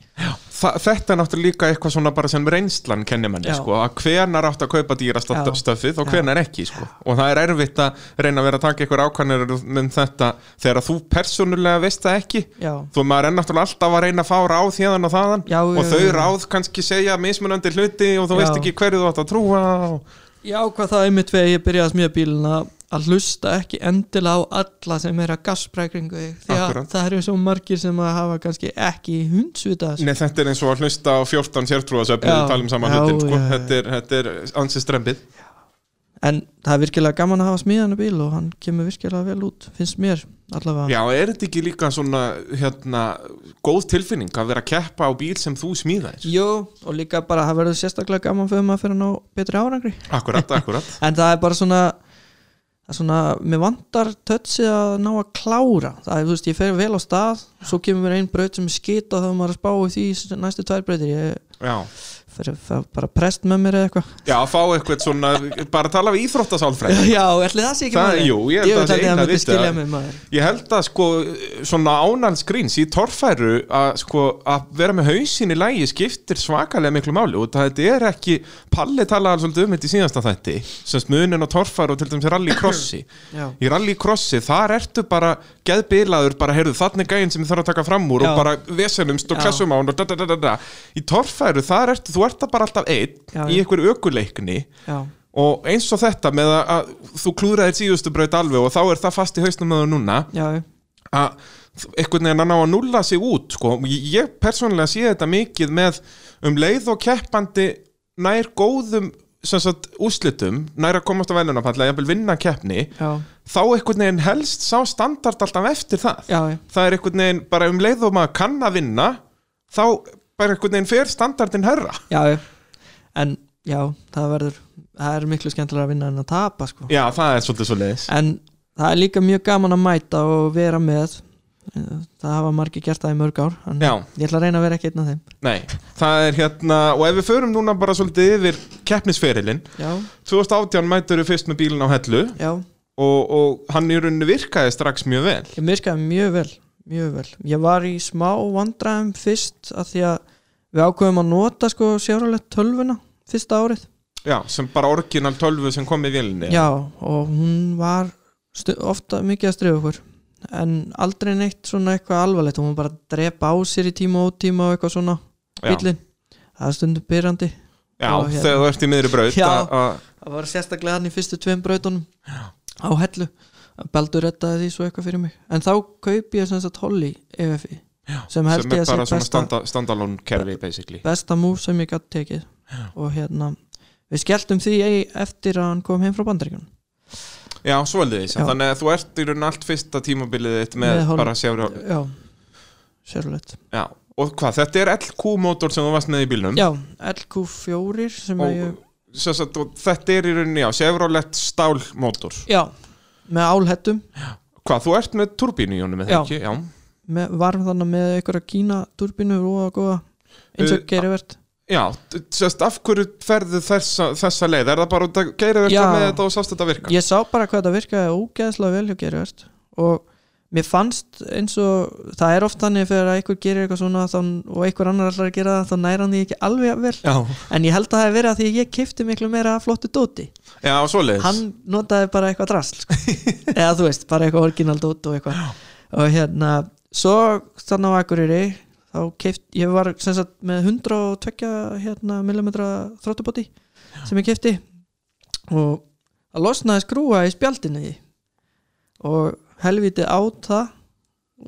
A: Þa, Þetta er náttúrulega líka eitthvað svona bara sem reynslan kennir manni
B: Já.
A: sko, að hvenar átt að kaupa
B: Já.
A: dýrastöfið og hvenar ekki sko. og það er erfitt að reyna að vera að taka eitthvað ákvarðanir um þetta þegar þú persónulega veist það ekki
B: Já,
A: þú maður er náttúrulega alltaf að reyna að fá ráð hérna og þaðan
B: Já,
A: og
B: já,
A: þau
B: já.
A: ráð kannski segja mismunandi hluti og þú
B: Já.
A: veist ekki hverju þú átt að trúa og...
B: Já hvað það er mitt við að ég byrjaði að smíða bílinn að að hlusta ekki endilega á alla sem er að gassprækringu því að
A: Akkúrat.
B: það eru svo margir sem að hafa kannski ekki hundsvitað
A: Nei, þetta er eins og að hlusta á 14 sértrúasöfni
B: Já.
A: við talum saman
B: Já,
A: hlutin sko.
B: já, já.
A: þetta, er, þetta er ansið strempið
B: en það er virkilega gaman að hafa smíðan bíl og hann kemur virkilega vel út finnst mér allavega
A: Já, er þetta ekki líka svona hérna, góð tilfinning að vera að keppa á bíl sem þú smíðaðir?
B: Jó, og líka bara það verður sérstaklega gaman fyrir maður fyrir að ná betri árangri
A: Akkurat, akkurat
B: en það er bara svona það er svona, mér vantar tötsið að ná að klára það er, þú veist, ég fer vel á stað svo kemur mér einn braut sem er skita þegar maður er að spá í því næstu tvær brautir ég
A: Já,
B: fyrir það bara prest með mér eða eitthvað
A: Já, fá eitthvað svona, bara tala við íþróttasálfræði
B: Já, ætli það sé ekki
A: Það-
B: málið?
A: jú, ég held að
B: veit
A: það sé
B: að
A: eina
B: það myndi
A: vitið
B: skilja
A: að-
B: mig maður
A: Ég held að sko svona ánald skríns í torfæru að sko að vera með hausin í lægi skiptir svakalega miklu máli og það þetta er ekki Palli talaði svolítið um þetta í síðasta þætti sem smunin á torfæru og til dæmis rallycrossi
B: Já.
A: í rallycrossi þar ertu bara geðbilaður bara heyrðu þarna er gæinn sem ég þarf að taka fram úr
B: Já.
A: og bara vesenumst og
B: Já.
A: klessum á hann og da da da da da í torfæru þar ertu, þú ert það bara alltaf einn
B: Já,
A: í
B: já.
A: einhverju ökuleikni
B: Já,
A: og eins og þetta með að, að þú klúðraðir síðustu braut alveg og þá er það fast í hausnum með það núna
B: já,
A: að einhvern veginn að ná að nulla sig út sko. ég ég persónulega sé þetta mikið með um leið og keppandi nær góðum sem sagt, úslitum, nær að komast á velunapall að jafnvel vinna keppni
B: já,
A: þá einhvern veginn helst sá standard alltaf eftir það
B: já, já.
A: það er einhvern veginn bara um leið og maður kann að vinna þá bara einhvern veginn fer standardin herra
B: já, já. en já, það verður það er miklu skemmtilega að vinna en að tapa sko.
A: já það er svolítið svo leiðis
B: en það er líka mjög gaman að mæta og vera með það hafa margir gert það í mörg ár en
A: Já.
B: ég ætla að reyna að vera ekki einn af þeim
A: Nei, það er hérna og ef við förum núna bara svolítið yfir keppnisferilinn,
B: já,
A: 2018 mætur við fyrst með bílinn á hellu
B: já,
A: og, og hann í rauninni virkaði strax mjög vel
B: ég myrkaði mjög vel mjög vel, ég var í smá vandræðum fyrst að því að við ákveðum að nota sko sjáralegt tölvuna fyrsta árið,
A: Já, sem bara orginal 12 sem kom í vélinni
B: já og hún var stu- ofta mikið að strefa okkur en aldrei neitt svona eitthvað alvarlegt hún var bara að drepa á sér í tíma og ótíma og eitthvað svona
A: já,
B: bílinn það er stundu byrjandi
A: já,
B: og hérna.
A: þegar þú ert í miðri braut
B: Já.
A: að- að-
B: það var sérstaklega hann í fyrstu tveim brautunum á hellu Baldur rettaði því svo eitthvað fyrir mig en þá kaupi ég sem sagt Holly EFI sem held
A: sem
B: ég
A: er
B: að sé
A: bara svona
B: besta,
A: standa, standalone kerfi basically
B: besta múf sem ég gætt tekið og hérna við skelltum því ei- eftir að hann kom heim frá bandaríkjunum
A: Já, svolítið
B: Já.
A: þannig að þú ert í rauninni allt fyrsta tímabilið þitt með,
B: Með hol-
A: bara sjára
B: já, sérulegt
A: Já, og hvað, þetta er LQ mótor sem þú varst með í bílnum
B: já, LQ4 sem
A: og,
B: að ég
A: sem sagt, og þetta er í rauninni, já, Chevrolet stálmótor
B: já, með álhettum
A: Hvað, þú ert með turbínu í honum, eða
B: Já.
A: ekki? Já.
B: með, varum þannig með einhverja kína turbinu og góða eins og
A: Uh,
B: gerivert
A: Já, t- sérst, af hverju ferðu þessa, þessa leið? Er það bara út að geira
B: Já.
A: þetta með þetta og sást þetta virka?
B: ég sá bara hvað það virkaði ógeðslega vel hjá gerivert og mér fannst eins og það er oft þannig þegar að einhver gerir eitthvað svona þá, og einhver annar allar að gera það þá næra hann því ekki alveg jafn vel
A: Já,
B: en ég held að það hef verið að því að ég kefti miklu meira af flottu dóti
A: já svoleiðis.
B: hann notaði bara eitthvað drasl sko. eða þú veist, bara eitthvað orginal dót og eitthvað og hérna, svo þannig á Akureyri þá keft, ég var sem sagt með 102 hérna, millimetra þróttubóti sem ég kefti og það losnaði skrúa í spjaldinni og helviti át það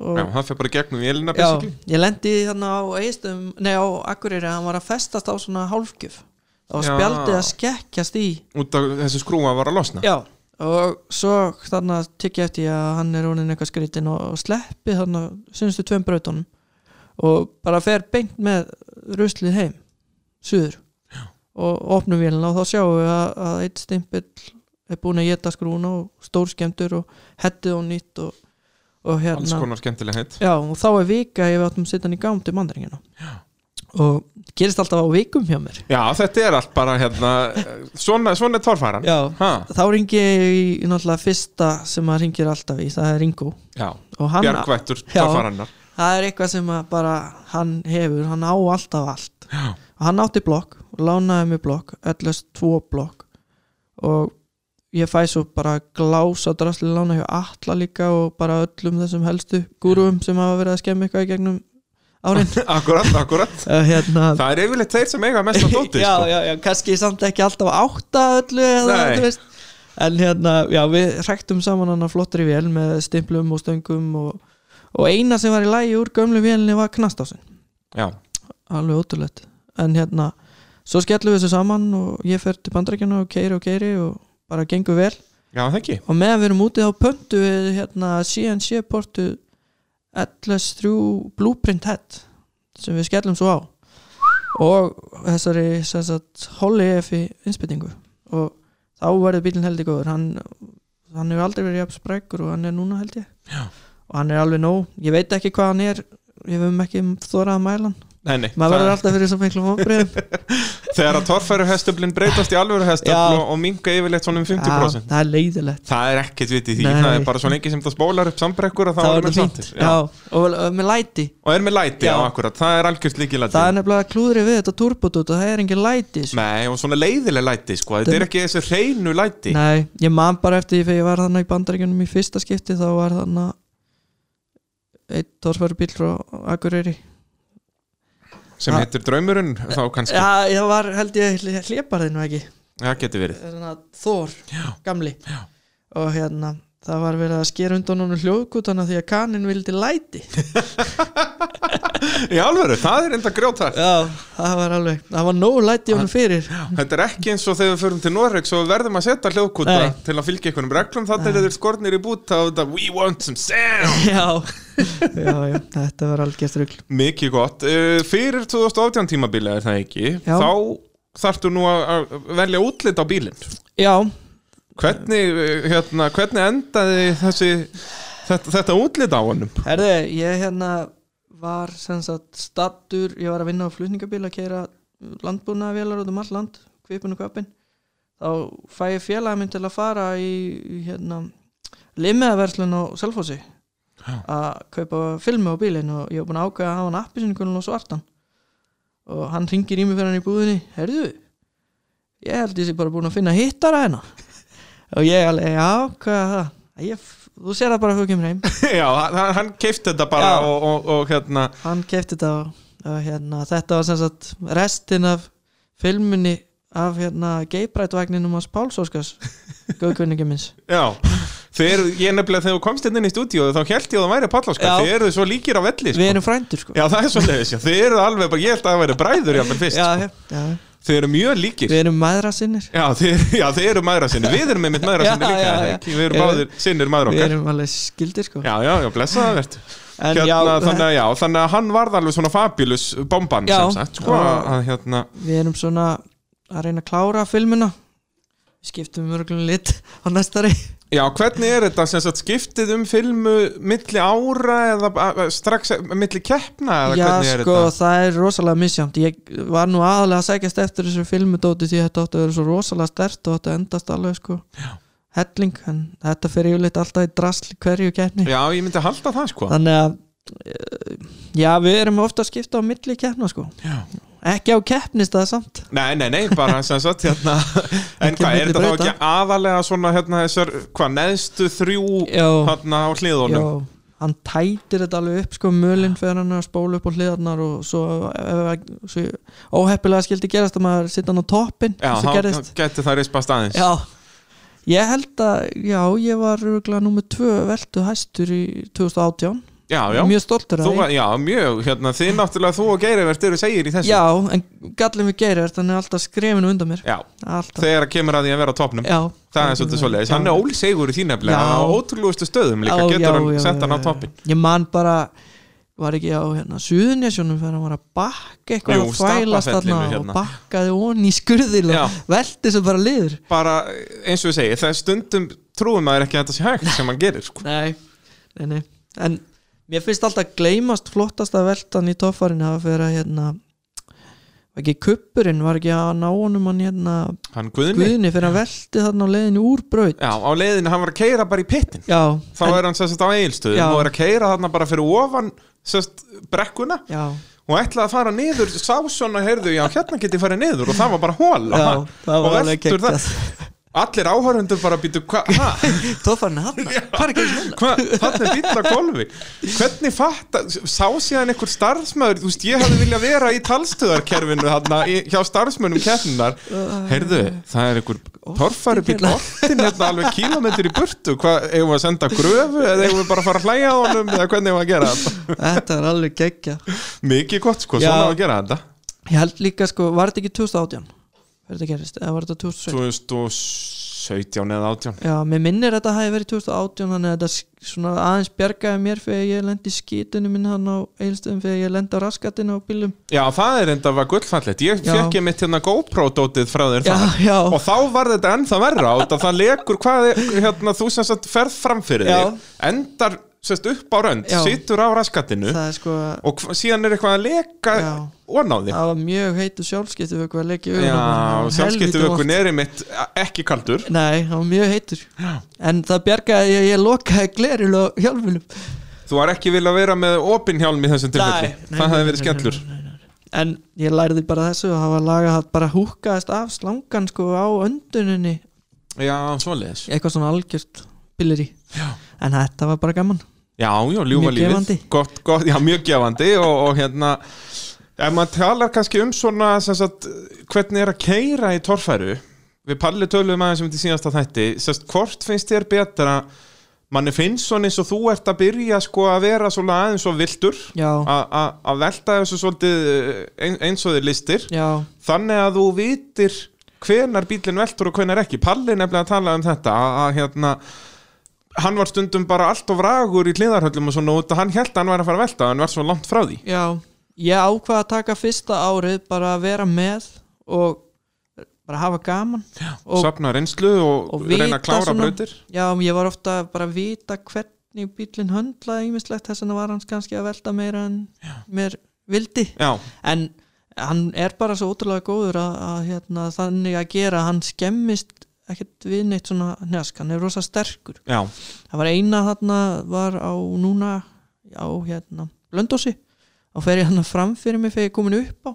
B: og
A: Já, hann fer bara í gegnum vélina,
B: Já,
A: basically.
B: ég lendi þannig á eistum, nei á Akureyri að hann var að festast á svona hálfgjöf og
A: Já.
B: spjaldið að skekkjast í
A: Út af þessi skrúa var að losna.
B: Já, og svo þannig að tekja eftir að hann er honin eitthvað skrítin og, og sleppi þannig að synnstu tveim brautunum og bara fer beint með ruslið heim, suður og opnum vélina og þá sjáum við að, að eitt stimpill er búin að geta skrúna og stórskemdur og hettið og nýtt og, og
A: Alls
B: hérna
A: konar skemmtileg heitt.
B: Já, og þá er vika ef við áttum að setja hann í gám til mandaringina og gerist alltaf á vikum hjá mér
A: Já, þetta er allt bara, hérna, svona, svona er torfæran.
B: Já,
A: Ha,
B: þá ringi ég í náttúrulega fyrsta sem maður ringir alltaf í, það er Ringo
A: já,
B: og hann,
A: bjargvættur
B: Já.
A: torfæranar.
B: það er eitthvað sem að bara hann hefur, hann á alltaf allt
A: Já.
B: og hann átti blokk og lánaði mér blokk, öllast tvo blokk og ég fæ svo bara glása drastli lána hjá alla líka og bara öllum þessum helstu gúrum sem hafa verið að skemmi eitthvað í gegnum árin
A: Akkurat, akkurat.
B: Uh, hérna,
A: Það er yfirleitt þeir sem eiga mest á dóti,
B: já,
A: sko.
B: já, já, kannski samt ekki alltaf átta öllu eða,
A: Nei.
B: þú veist. en hérna, já, við rektum saman hann að flottri vél með stimplum og stöngum og, og eina sem var í lægi úr gömlu vélni var knastásin
A: Já,
B: alveg ótrúlegt en hérna, svo skellum við þessu saman og ég fer til bandrækjana og keiri og keiri og bara gengur vel
A: já, það ekki.
B: og meðan við erum útið á pöntu við hérna CNC portu LS3 Blueprint Head sem við skellum svo á og þessari sem sagt, Holly EFI innspytingu og þá verður bílinn heldig góður hann, hann hefur aldrei verið jafn sprækur og hann er núna held ég
A: Já.
B: og hann er alveg nóg, ég veit ekki hvað hann er ég hefum ekki þórað um að mæla hann
A: Nei, nei,
B: maður verður
A: það-
B: alltaf fyrir svo miklum vonbrigðum.
A: þegar að torfæru hestöflin breytast í alvöru
B: Já.
A: hestöfl og, og minga yfirleitt svona um
B: Já,
A: 50%
B: það er leiðilegt
A: Það er ekkert vit í því,
B: Nei.
A: það er bara svo lengi sem það spólar upp sambrekkur og þá
B: það
A: erum
B: var
A: við
B: fínt
A: sáttir
B: já. og og með læti
A: Og er með læti, já,
B: Já.
A: akkurat, það er algjörst líkilæti
B: það er nefnilega klúðrið við þetta turbotút og það er engin læti sko.
A: Nei, og svona leiðileg læti, sko, þetta
B: Dem-
A: er ekki þessi hreinu læti
B: nei, ég man bara eftir því þegar ég var þannig í bandaríkjunum í fyrsta skipti þá var þannig eitt torfæru bíl frá Akureyri
A: sem
B: Ah.
A: heitir draumurinn, þá kannski
B: já, ég var held ég hlébarðinu ekki
A: Það getur verið
B: þannig að Þór,
A: Já.
B: gamli já. og hérna, það var verið að skera undan honum hljóðkutana því að kanin vildi læti
A: Í alvöru, það er enda grjótart
B: já, það var alveg, það var nóg læti honum fyrir
A: Þetta er ekki eins og þegar við förum til Noregs og við verðum að setja hljóðkúta
B: Nei.
A: til að fylgja einhvernum reglum þannig að þeir eru skornir í búta og þetta We want some sound
B: já, já, já, þetta var algjörst rugl
A: Mikið gott, Uh, fyrir 2018 tímabili er það ekki
B: Já.
A: þá þarftu nú að að velja útlit á bílinn
B: já,
A: hvernig, uh, hérna, hvernig endaði þessi, þetta, þetta útlit á honum
B: herðu, ég hérna var sem sagt stattur ég var að vinna á flutningabíl að keira landbúnaðavélar út um allt land kvipin og kvapin þá fæ ég félagi minn til að fara í í, hérna limmiðaverslun á Selfossi að kaupa filmu á bílinn og ég var búin að ákveða að hafa hann appisinkunum og svartan og hann ringir í mig fyrir hann í búðinni herðu, ég held ég sé bara búin að finna hittara hennar og ég alveg, já, hvað er það ég, þú sér það bara að þú kemur heim
A: Já, hann, hann keifti þetta bara
B: Já.
A: og, og, og hérna
B: hann kefti þetta og, og hérna, þetta var sem sagt restin af filmunni af hérna geibrætvagninum hans Páls Óskars góðkunningi minns
A: Já, þeir, ég nefnilega þegar þú komst hérna inn í stúdíu þá held ég að það væri palláska
B: Já.
A: Þið eruð svo líkir á velli sko.
B: við erum frændur sko
A: Já, það er svo leiðis, já, þið eruð alveg bara, ég held að það væri bræður jáfnvel fyrst sko.
B: já, já, já.
A: Þið eru mjög líkir
B: við erum maðra sinnir
A: Já, þið, já, þið eru maðra sinni, við erum með mitt maðra
B: Já,
A: sinni líka
B: já,
A: já,
B: já.
A: já. Við erum
B: Já.
A: báðir sinnir maður
B: við
A: okkar
B: erum alveg skildir sko
A: Já, já, já, blessaða verð
B: En
A: hérna,
B: já,
A: þannig, að- já, þannig að hann varð alveg svona fabulous bomban
B: Já.
A: sem sagt sko,
B: Já.
A: að, hérna,
B: við erum svona að reyna að klára filmuna við skiptum mörglum lit á næstari
A: Já, hvernig er þetta sem sagt skiptið um filmu milli ára eða a- a- strax milli keppna eða
B: já
A: hvernig er
B: sko
A: þetta?
B: það er rosalega misjamt ég var nú aðalega að sækjast eftir þessu filmudóti því þetta átti að vera svo rosalega stert og þetta endast alveg sko já. helling en þetta fer yfirleitt alltaf í drasl í hverju keppni
A: Já, ég myndi halda það sko
B: þannig að eh, já við erum ofta að skipta á milli keppna sko
A: Já.
B: ekki á keppnistað samt
A: Nei, nei, nei, bara sem sagt hérna, En
B: Ekki
A: hvað, er
B: milli
A: þetta þá
B: brauta.
A: ekki aðalega svona hérna þessar, hvað, neðstu þrjú
B: já,
A: hérna á
B: já
A: hliðunum
B: hann tætir þetta alveg upp sko mölinn fyrir hann að spóla upp á hliðarnar og svo, ef- ef- svo óheppilega skildi gerast að maður sitta hann á toppin
A: Já,
B: sem gerðist
A: þá geti það rispast aðeins
B: Já Ég held að, já, ég var rúglega númer tvö veltu hæstur í 2018
A: já, já.
B: Mjög stoltur
A: Þú,
B: að því
A: já, mjög, hérna, þið náttúrulega þú og Geirivert eru segir í þessu
B: Já, en gallið mig gerir þannig er alltaf skrefinu undan mér
A: Já,
B: Alltaf
A: þegar kemur að því að vera á topnum
B: Já,
A: Það er svolítið svoleiðis, hann er ólsegur í því nefnilega
B: Já.
A: á ótrúlegustu stöðum líka,
B: Já, já,
A: getur hann
B: já,
A: sett hann á
B: já, já.
A: toppin
B: Ég man bara, var ekki á hérna, Suðunjasjónum þegar hann var að bakka eitthvað
A: Jú,
B: að þvælast
A: Stapafellinu
B: þarna
A: hérna.
B: og bakkaði onni í skurðil
A: Já.
B: og velti svo bara liður
A: Bara eins og ég segi, það er stundum trúum maður ekki að þetta sé hægt sem hann gerir sko.
B: Nei, nei, nei En mér finnst alltaf gleymast flottasta veltan í toffarinn að vera hérna var ekki kuppurinn, var ekki að ná honum hann hérna
A: Hann guðni,
B: guðinni fyrir að velti þarna á leiðinu úr braut
A: já, á leiðinu, hann var að keira bara í pittin
B: Já,
A: þá
B: en,
A: er hann sérst á eigilstöðum
B: Já.
A: og er að keira þarna bara fyrir ofan sérst brekkuna
B: já,
A: og ætlaði að fara niður sá svona, heyrðu, já, hérna get ég farið niður og það var bara hól
B: já, það
A: og
B: var alveg
A: veltur það
B: kekkt
A: allir áhörundur bara býtu, hvað, hæ,
B: Toffarinn hann, hvað er ekki hérna?
A: hvað hann er býtla gólfi hvernig fatta, sá síðan einhver starfsmöður, þú veist, ég hefði viljað vera í talstöðarkerfinu þarna í- hjá starfsmönnum keppnunar, heyrðu það er einhver torfari bíl
B: hérna.
A: oftin hérna alveg kílometri í burtu hvað, eigum við að senda gröfu eða eigum við bara að fara að hlæja á honum eða hvernig eigum við að gera þetta
B: Þetta er alveg kekja
A: Mikið gott sko,
B: Já.
A: svona á að gera þetta
B: Ég held líka sko, var þetta ekki 2018? Var þetta gerist, eða var þetta 2017?
A: 2017 eða 18
B: Já, mér minnir að þetta hafi verið 2018 þannig að þetta sk- svona aðeins bjargaði mér fyrir ég lendi í skítinu minn hann á eilstöðum fyrir ég lendi á raskatinu á bílum
A: Já, það er enda var gullfallet Ég
B: Já.
A: fekk ég mitt hérna GoPro-dótið frá þér
B: Já,
A: þar.
B: já,
A: Og þá var þetta ennþá verra út að það lekur hvað er, hérna, þú sem sagt ferð fram fyrir
B: Já.
A: þig endar sest upp á rönd,
B: Já.
A: situr á raskattinu
B: það er sko
A: og hva- síðan er eitthvað að leka
B: Já.
A: og á þig
B: það var mjög heitu sjálfskipti vöku að leggja
A: Já, sjálfskiptuvökun er einmitt ekki kaldur
B: Nei, það var mjög heitur En það bjargaði að ég lokaði gleril og hjálmunum
A: Þú var ekki vilja vera með opin hjálm í þessum tilfelli Það hefði verið skellur
B: En ég læriði bara þessu og hafa lagað það bara húkaðist af slangan sko á önduninni
A: Já, svoleiðis
B: eitthvað svona algjört pilleri En þetta var bara gaman
A: Já, já, ljúfa
B: Mjög
A: lífið
B: gefandi.
A: gott, gott, Já, mjög gefandi og, og hérna Ef maður talar kannski um svona sem sagt, hvernig er að keira í torfæru Við palli töluðum aðeins um þetta í síðasta þætti Sest, Hvort finnst þér betra manni finnst svona eins og þú ert að byrja sko að vera svona aðeins og viltur
B: Já,
A: a- a- að velta þessu svolítið ein- eins og þið listir
B: já,
A: þannig að þú vitir hvenar bílinn veltur og hvenar ekki Palli nefnilega að tala um þetta að, að hérna hann var stundum bara allt og vragur í hliðarhöllum og svona út að hann held að hann væri að fara að velta hann var svo langt frá því
B: já Ég ákvað að taka fyrsta árið bara að vera með og bara hafa gaman já, og
A: safna reynslu og,
B: og
A: reyna
B: vita
A: að klára
B: svona-
A: brautir
B: Já, ég var ofta bara að vita hvernig bílinn höndlaði ýmislegt þess vegna var hans kannski að velta meira en mér vildi
A: já,
B: en hann er bara svo ótrúlega góður að, að hérna, þannig að gera að hann skemmist ekkert við neitt svona njask, hann er rosa sterkur
A: já,
B: það var eina þarna var á núna á hérna Blöndósi og fer ég hann fram fyrir mig þegar ég er komin upp á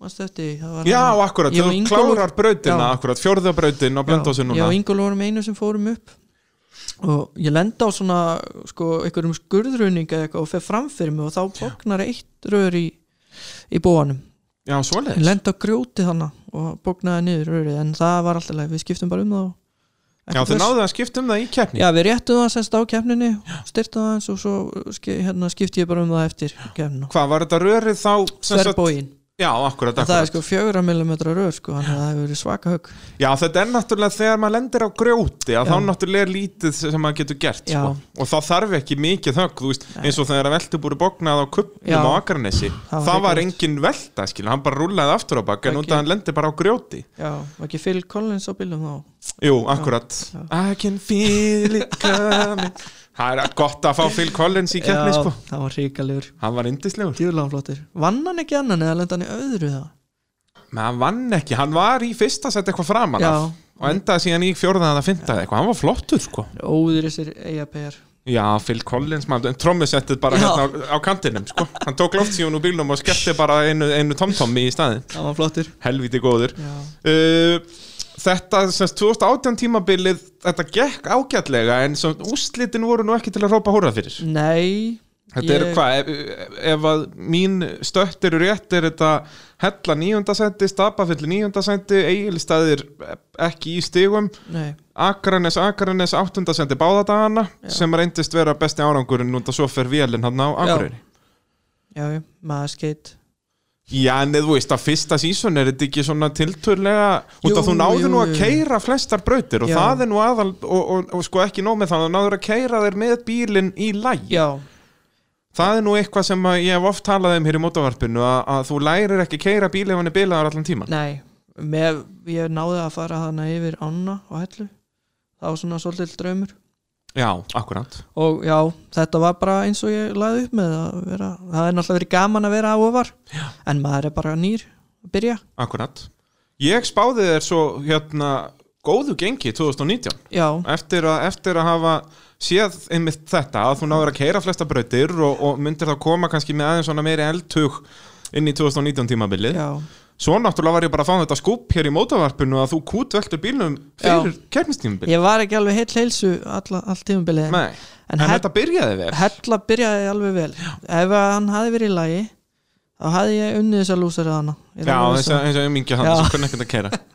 B: Manstu eftir því? Það var
A: já,
B: hann-
A: akkurat
B: Ég og
A: þú
B: Ingólfur-
A: klárar brautina,
B: Já.
A: akkurat fjórða brautin á blöndósi
B: Já,
A: núna
B: ég og Ingól vorum einu sem fórum upp og ég lenda á svona sko, einhverjum skurðruning eða eitthvað og fer fram fyrir mig og þá bóknar eitt rör í, í bóanum
A: já,
B: ég
A: svoleiðis
B: lenda á grjóti þannig og bóknaði niður rörið en það var alltaf leið, við skiptum bara um það og
A: já,
B: ekkert
A: þau
B: vesen.
A: náðu að skipta um það í keppni
B: Já, við réttum það semst á keppninni styrtum það eins og svo ski, hérna, skipti ég bara um það eftir keppnina
A: hvað var þetta rörið þá sem sagt-
B: Þverbógin,
A: já, akkurat,
B: en það er
A: akkurat
B: sko fjögra millimetra rör sko, þannig að það hefur verið svaka högg
A: Já, þetta er náttúrulega þegar maður lendir á grjóti að
B: Já.
A: þá náttúrulega er lítið sem maður getur gert
B: Já.
A: sko. og þá þarf ekki mikið þögg þú veist, eins og þegar að veltu búið bóknað á
B: Já.
A: kuppnum á Akarnesi það
B: var
A: var,
B: hrikalegt.
A: engin velta, skil, hann bara rúlaði aftur á bak en
B: Ekki.
A: út að hann lendir bara á grjóti
B: Já, var ekki Phil Collins á bílum þá
A: Jú, akkurat
B: Já.
A: I can feel it coming Það er gott að fá Phil Collins í keppni sko.
B: það var ríkalegur
A: hann var yndislegur
B: Djúlanflottir. Vann hann ekki annan eða lenda hann í öðru það?
A: Men hann vann ekki, hann var í fyrsta sett eitthvað framan af
B: Já.
A: og endaði síðan í fjórðan að finna eitthvað, hann var flottur sko
B: Óður þessir EAPR.
A: Já, Phil Collins, maður, en trommusettið bara
B: Já.
A: hérna á, á kantinum, sko Hann tók loftsíun úr bílnum og skellti bara einu, einu tomtommi í staðin
B: Það var flottur.
A: Helviti góður
B: Já.
A: uh, Þetta, semst, 2018 tímabilið, þetta gekk ágætlega En sem, úslitin voru nú ekki til að rópa hóra fyrir
B: Nei.
A: Þetta eru
B: ég-
A: hvað, ef, ef að mín stött eru rétt er þetta Hella níundasendi, Stapafill níundasendi, Egilstaðir ekki í stigum
B: Nei.
A: Akranes, Akranes, áttundasendi báðadagana
B: Já.
A: sem reyndist vera besti árangurinn út að svo fer vélinn hann á Akureyri
B: Já, já, maður skeitt.
A: Já, en þú veist að fyrsta síson er þetta ekki svona tilturlega út
B: Jú,
A: að þú náður
B: jú,
A: nú að
B: jú.
A: keira flestar brautir og
B: Já.
A: það er nú aðal og, og, og, sko ekki nóg með það, þú náður að keira þér með bílinn í læg
B: Já.
A: Það er nú eitthvað sem að ég hef oft talað um hér í mótavarpinu að, að þú lærir ekki keira bíl ef hann er bilaðar allan tíman
B: Nei. Með, ég náði að fara hana yfir Anna og Hellu. Það var svona svolítið draumur.
A: Já, akkurát
B: Og já, þetta var bara eins og ég laði upp með að vera, það er náttúrulega verið gaman að vera á ofar. Já. En maður er bara nýr að byrja.
A: Akkurat Ég spáði þér svo hérna góðu gengi 2019
B: Já.
A: eftir að, eftir að hafa séð einmitt þetta að þú náður að keira flesta brautir og, og myndir þá koma kannski með aðeins svona meiri eldtug inn í 2019 tímabilið
B: Já.
A: svo náttúrulega var ég bara að fá þetta skúp hér í mótavarpinu að þú kútveldur bílnum fyrir kermistímabilið
B: Ég var ekki alveg heill heilsu alla, allt tímabilið.
A: Nei, en,
B: Hell-
A: þetta byrjaði vel
B: Hella byrjaði alveg vel ef að hann hafi verið í lagi þá hafi ég unnið þess að lúsari hana Ég er
A: Já,
B: alveg
A: eins
B: viss um
A: og, eins og umingja hann
B: Já.
A: sem kunni ekkert að keira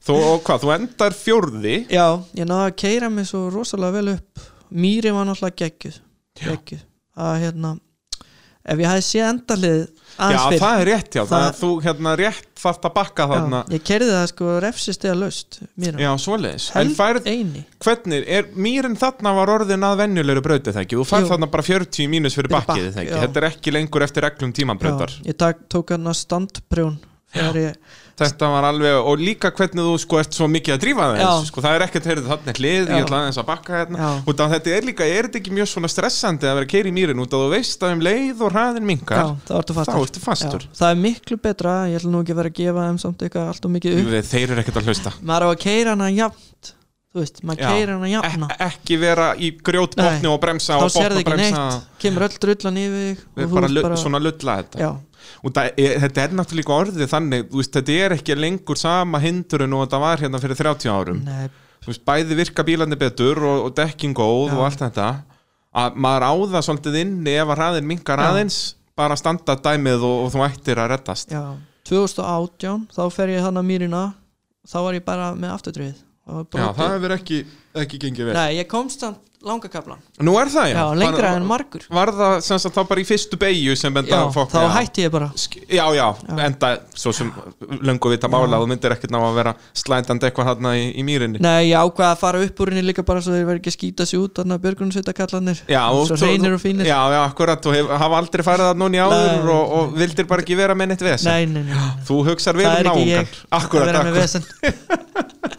A: Þú, og hvað, þú endar fjórði
B: það. já, ég náði að keira mig svo rosalega vel upp mýri var náttúrulega geggjuð geggjuð að hérna ef ég hafi séð endalið
A: Já,
B: aðeins fyrr
A: það er rétt, já, það,
B: Það-
A: það þú hérna rétt þarft að bakka þarna
B: já, ég keirði það sko refsist eða löst mýra,
A: Já, svoleiðis En
B: held
A: færð
B: eini
A: hvernig, er mýrin þarna var orðin að venjulegur brauti það ekki, þú færð
B: Jú.
A: þarna bara 40 mínus fyrir
B: Fyrir
A: bakkið
B: bakk,
A: það ekki,
B: já.
A: þetta er ekki lengur eftir reglum tímabrautar
B: já, ég tak, tók hann að hérna standprjón þegar ég,
A: Þetta var alveg, og líka hvernig þú sko ert svo mikið að drífa
B: Já.
A: þess sko, það er ekkert, heyrðu, þarna er hlið,
B: Já.
A: ég ætla aðeins að bakka hérna
B: Já.
A: út af þetta er líka, er þetta ekki mjög svona stressandi að vera að keira í mýrin út af þú veist að um leið og hraðin
B: já,
A: minkar
B: það ertu
A: þá
B: fastur
A: ertu fastur
B: Já, það er miklu betra, ég ætla nú ekki að vera að gefa þeim samt eitthvað allt og mikið upp
A: Við- Þeir eru ekkert að hlusta
B: maður á að keira hana jafnt þú veist, maður
A: Já.
B: keira hana jafna
A: E- Ekki vera í grjótbotni
B: Nei.
A: og bremsa
B: þá
A: og
B: sér
A: botna
B: það ekki
A: bremsa
B: neitt kemur öll drullan yfir þig og
A: Við
B: þú
A: bara,
B: ert
A: lu- svona lulla þetta
B: já,
A: og það er, þetta er náttúrulega líka orðið þannig þú veist, þetta er ekki lengur sama hindurinn og þetta var hérna fyrir 30 árum
B: nei,
A: þú veist, bæði virka bílandi betur og, og dekking góð
B: Já.
A: og allt þetta að maður á það svolítið inni ef að hraðin minkar
B: Já.
A: aðeins bara standa dæmið og, og þú ættir að reddast
B: já 2018, þá fer ég hann að mýrina þá var ég bara með afturdröðið
A: Já, það hefur ekki, ekki gengið vel
B: nei, ég komst samt langa kaplan
A: Nú er það, já,
B: já, lengra
A: Bara-
B: en margur
A: Var það sem sagt þá bara í fyrstu beigju sem benda
B: já,
A: á fólk
B: þá hætti ég bara
A: Sk- Já, já, enda svo sem löngu vita mála þú myndir ekkert ná að vera slændandi eitthvað þarna í, í mýrinni
B: Nei, ég ákvaði að fara upp úr henni líka bara svo þeir verði ekki að skýta sig út þannig að björgunsveitakallanir
A: Já,
B: svo
A: þú-
B: reynir og fínir
A: Já, já, akkurat, þú hef, hafa aldrei farið það núna í áður
B: Nei.
A: og, og vildir bara ekki vera með neitt vesen
B: Nei, nei, nei, nei.
A: Þú hugsar vel
B: það
A: um
B: er ekki ég
A: náungan
B: að
A: Akkurat,
B: vera
A: akkurat
B: með vesen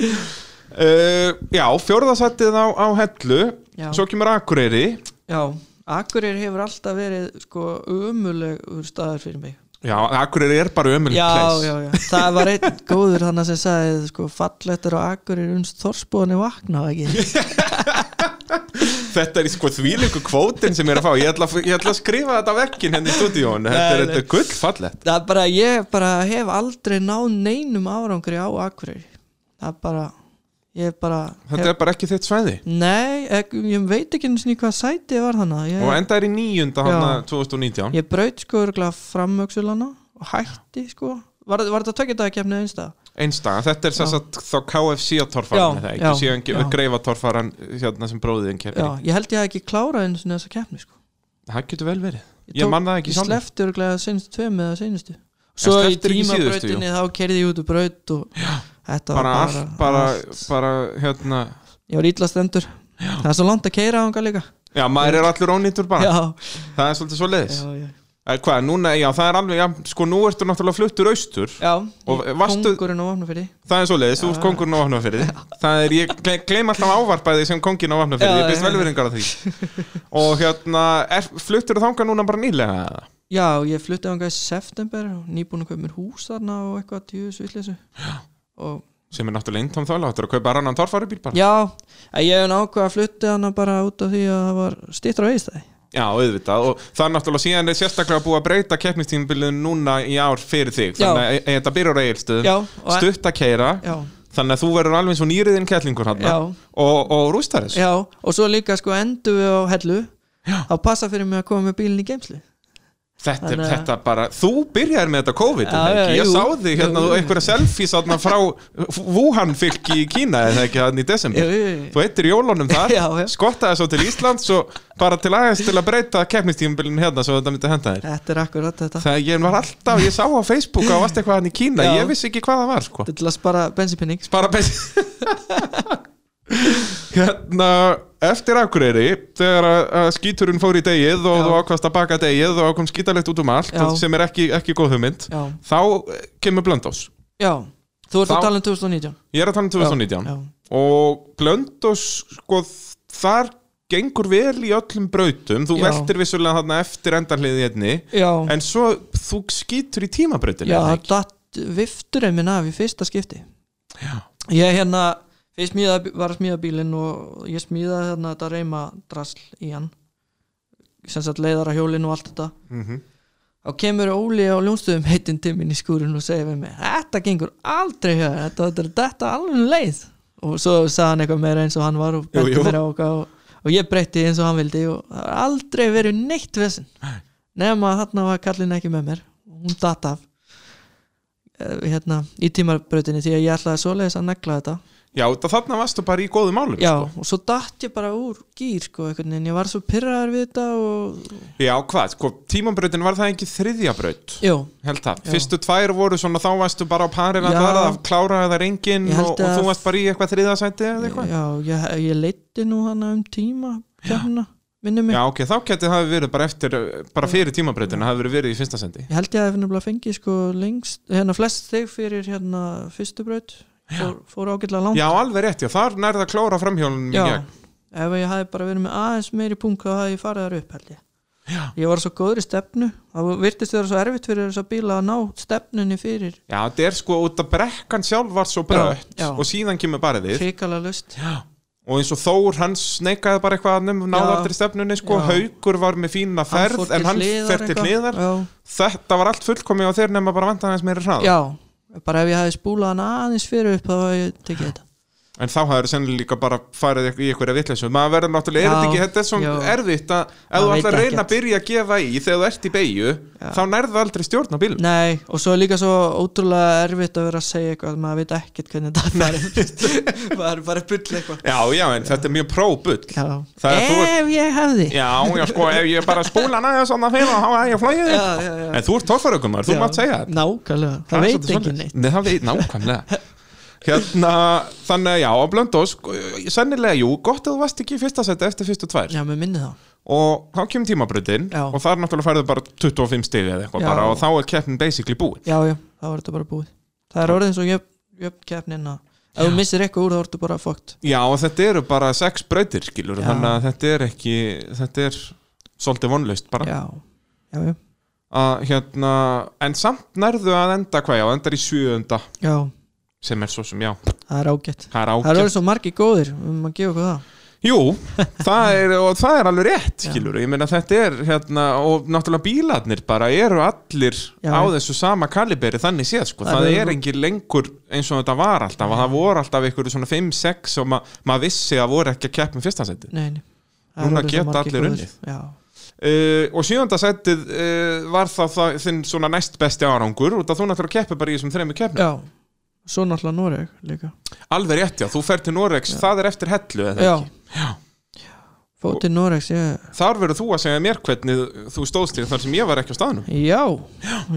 A: uh, Já, fjórðasættið á, á Hellu
B: Já.
A: Svo kemur Akureyri
B: Já, Akureyri hefur alltaf verið sko umulegur staðar fyrir mig
A: Já, Akureyri er bara ömul
B: Já,
A: place
B: já, já, það var einn góður þannig sem sagði sko fallettur á Akureyri uns þorsbúðan er vaknað ekki
A: Þetta er í sko þvílingu kvótin sem ég er að fá Ég ætla, að- ég ætla að skrifa þetta á vekkin henni í stúdíón Þetta er,
B: Nei, nei.
A: þetta er gullfallett
B: Það er bara, ég bara hef aldrei náð neinum árangri á Akureyri Það er bara, ég bara
A: Þetta
B: hef,
A: er bara ekki þitt svæði
B: Nei, ekki, ég veit ekki einu sinni hvað sæti ég var þannig
A: Og
B: ég,
A: enda er í nýjunda
B: Já.
A: hana 2019
B: ég braut sko örgulega framöksulana og hætti sko Var, var þetta tökja dagakefni einstað?
A: Einstaga, þetta er
B: Já.
A: sem sagt þá KFC að torfaran er
B: Já,
A: það
B: já,
A: ekki, síðan
B: já.
A: greifa torfaran hérna sem bróðiðin kefir
B: Já, ég held ég að ekki klára einu sinni þessa kefni sko
A: Það getur vel verið, ég,
B: tók-
A: man það ekki
B: ég
A: sjálfur.
B: slefti örglega senstu tveim eða senstu svo í
A: slepptir ekki síðustu, jú.
B: tímabrautinni þá kerði ég út úr braut og þetta
A: bara,
B: var
A: allt, bara,
B: allt.
A: bara hérna
B: ég var ítla stendur það er svo langt að keira ánga líka
A: Já, maður er allur ónýttur bara
B: já,
A: Það er svolítið svo leiðis
B: já, já.
A: Hvað, núna, já, það er alveg, já, sko, nú ertu náttúrulega fluttur austur
B: já
A: Og
B: ég-
A: varstu-
B: kóngurinn og ofna fyrir
A: Það er svo leiðis, þú ert kongurinn á Vafnafyrði Það er, ég gle- gleym alltaf ávarpaði sem kongin á Vafnafyrði
B: Já,
A: Ég byrst
B: já.
A: velveringar á því Og hérna, er, fluttur þú þangað núna bara nýlega? eða?
B: já, ég flutti ánga í september og nýbúin að köpa mér hús þarna og eitthvað tjú svillisu og
A: Sem er náttúrulega eintóm þála, þú ert að kaupa rannan torfarubíl bara
B: já, að ég hef nákvæða að flutti hana bara út af því að það var stýttra veistæði
A: Já, auðvitað, og það er náttúrulega síðan er sérstaklega búið að breyta keppnistímabilið núna í ár fyrir þig
B: Já.
A: Þannig að e- þetta byrjar á
B: já,
A: eigilstöðum,
B: og,
A: stutt að keira
B: já,
A: Þannig að þú verður alveg eins og nýriðin kettlingur hann
B: já
A: og, og rústar þessu
B: Já, og svo líka sko endur við á hellu
A: Já.
B: þá passa fyrir mig að koma með bílinn í geimslu
A: þetta, er-
B: Þannig að-
A: þetta bara, þú byrjar með þetta COVID
B: Já,
A: já,
B: já,
A: já, ég
B: jú.
A: sá þig hérna,
B: Jú,
A: þú
B: jú.
A: einhverja selfies þarna frá Wuhan fylki í Kína eða ekki þannig í
B: Jú,
A: desember
B: jú, jú.
A: þú eittir jólunum þar,
B: Já, já.
A: skottaði svo til Ísland svo bara til aðeins til að breyta keppnistímabilin hérna svo þetta myndi henda þér
B: Þetta er akkurat þetta
A: það ég var alltaf, ég sá á Facebook að varst eitthvað hann í Kína,
B: Já.
A: ég vissi ekki hvað það var sko.
B: Þetta er til að spara bensinpenning
A: spara bensin hérna eftir Akureyri þegar að að skíturinn fór í degið og
B: Já.
A: þú ákvast að baka degið og kom skítalegt út um allt
B: Já.
A: sem er ekki, ekki góð hugmynd
B: Já,
A: þá eh, kemur Blöndós
B: já Þú ert
A: Þá-
B: að tala um 2019
A: ég er að tala um 2019
B: Já,
A: og Blöndós sko þar gengur vel í öllum brautum þú
B: Já.
A: veltir vissulega þarna eftir endarliðið hérni
B: já,
A: en svo þú skítur í tímabrautinu
B: já
A: eða
B: það
A: ekki?
B: datt vifturinn minn af í fyrsta skipti Já Ég hérna, fyrst smíða, var að smíða bílinn og ég smíðaði hérna þetta reyma drasl í hann sem sagt leiðara hjólinn og allt þetta
A: Mhm.
B: þá kemur Óli á ljónstöðum heitin timminn í skúrin og segir við mig þetta gengur aldrei hér, þetta, þetta, er- þetta er alveg um leið og svo sagði hann eitthvað meira eins og hann var og
A: Jú,
B: benti
A: jú.
B: mér á okkar og, og ég breytti eins og hann vildi og það har aldrei verið neitt vesinn nema að þarna var kallin ekki með mér og hún datt af eh, hérna, í tímarbrautinni því að ég ætlaði svoleiðis að negla þetta
A: já, þá þarna varstu bara í góðum álum
B: já, og svo datt ég bara úr gýr sko, einhvern veginn, ég var svo pyrraður við þetta og,
A: Já, hvað, sko, tímabrautin var það ekki þriðja braut
B: jú,
A: held það,
B: Já.
A: fyrstu tvær voru svona þá varstu bara á parið að
B: Já.
A: vera að klára það reyngin og,
B: Ég held
A: og
B: að-
A: þú varst bara í eitthvað þriðasæti eða eitthvað
B: Já, ég, ég leiti nú hana um tíma kemna minnum mig
A: Já, ok, þá getið hafi verið bara eftir bara fyrir tímabreytinu, hafi verið verið í fyrsta sendi
B: ég held ég að nefnilega fengið sko lengst hérna flest þig fyrir hérna fyrstu braut fór, fór ágætlega langt
A: Já, alveg rétt, já, þar nærða að klóra framhjólunum í gegn.
B: ef ég hafi bara verið með aðeins meiri punkt þá hafi ég farið þar upp held ég Já. ég var svo góður í stefnu það virtist vera svo erfitt fyrir þess að bíla að ná stefnunni fyrir
A: Já, þetta er sko út að brekkan sjálf var svo brött
B: Já, já.
A: og síðan kemur bara þið
B: hrikalega lust
A: og eins og Þór, hann sneikaði bara eitthvað að nefn, náða
B: Já.
A: aldrei stefnunni sko,
B: Já.
A: Haukur var með fína ferð en hann fer til hliðar
B: já.
A: Þetta var allt fullkomið á þeir nema bara vantan hans meira hraða
B: já, bara ef ég hafi spúlað hann aðeins fyrir upp þá hafi ég tekið þetta
A: En þá hafður sennilega líka bara farið í eitthvað vitleysu Maður verður náttúrulega, er
B: Já,
A: þetta ekki, þetta er svo
B: já.
A: erfitt að ef
B: Maður
A: þú
B: veit
A: ætlar að reyna
B: ekkert.
A: að byrja að gefa í þegar þú ert í beigju, þá nærðu aldrei stjórn á bílum
B: Nei, og svo er líka svo ótrúlega erfitt að vera að segja eitthvað maður veit ekkert hvernig þetta farið maður er bara að bulla eitthvað
A: Já, já, en þetta er mjög próbull
B: Já,
A: Það er- þú
B: ef ég hefði
A: Já, já, sko, ef ég bara spúla næða svona fyrir þá hafði ég flóið
B: Já, já, já.
A: En þú ert tófarökumar, þú
B: Já,
A: mátt segja þetta
B: Nákvæmlega, það
A: er
B: veit
A: svolítið
B: ekki
A: svoleiðis.
B: neitt
A: Nei, það veit nákvæmlega Hérna, þannig að já, á Blöndós Sennilega, jú, gott að þú varst ekki í fyrsta seti eftir fyrstu tvær
B: Já, mér minni þá
A: Og þá kemur tímabröðin
B: Já.
A: Og þar náttúrulega færðu bara 25 stiði eða eitthvað
B: Já.
A: bara Og þá er keppnin basically búin
B: Já, já, þá var þetta bara búið Það er orðin svo jöfn, jöfn keppnin að ef þú missir eitthvað úr þá ertu bara fókt
A: Já, og þetta eru bara sex brautir, skilur
B: Já.
A: Þannig að þetta er ekki, þetta er svolítið vonlaust bara
B: Já, já, já,
A: að, hérna, En samt nærðu að enda hvað, já, endar í sjöunda
B: já,
A: Sem er svo sem, já,
B: það er ágætt
A: það er
B: Það
A: ágætt
B: er orðin svo margi góðir, við um að gefa okkur það
A: Jú, það er, og það er alveg rétt, skilur, ég meina þetta er hérna, og náttúrulega bílarnir bara eru allir
B: Já.
A: á þessu sama kaliberi þannig séð, sko,
B: Það
A: það,
B: eru-
A: er engin lengur eins og þetta var alltaf, og það voru alltaf einhverju svona 5-6 og ma maður vissi að voru ekki að keppa um fyrsta seti.
B: Nei, nei Það eru
A: Núna
B: orðið svo
A: geta
B: margir
A: allir
B: góðir.
A: unnið.
B: Já,
A: Uh, og sjöunda setið uh, var þá það, þinn svona næst besti árangur, og það þú náttúrulega keppir bara í þessum þremur keppnum.
B: já, svo náttúrulega Noreg líka
A: Alveg rétt, já, þú fer til Noregs, það er eftir hellu, eða
B: Já,
A: ekki? Já.
B: fótið Noregs, ég
A: Þar verður þú að segja mér hvernig þú stóðst þér þar sem ég var ekki á staðnum.
B: Já,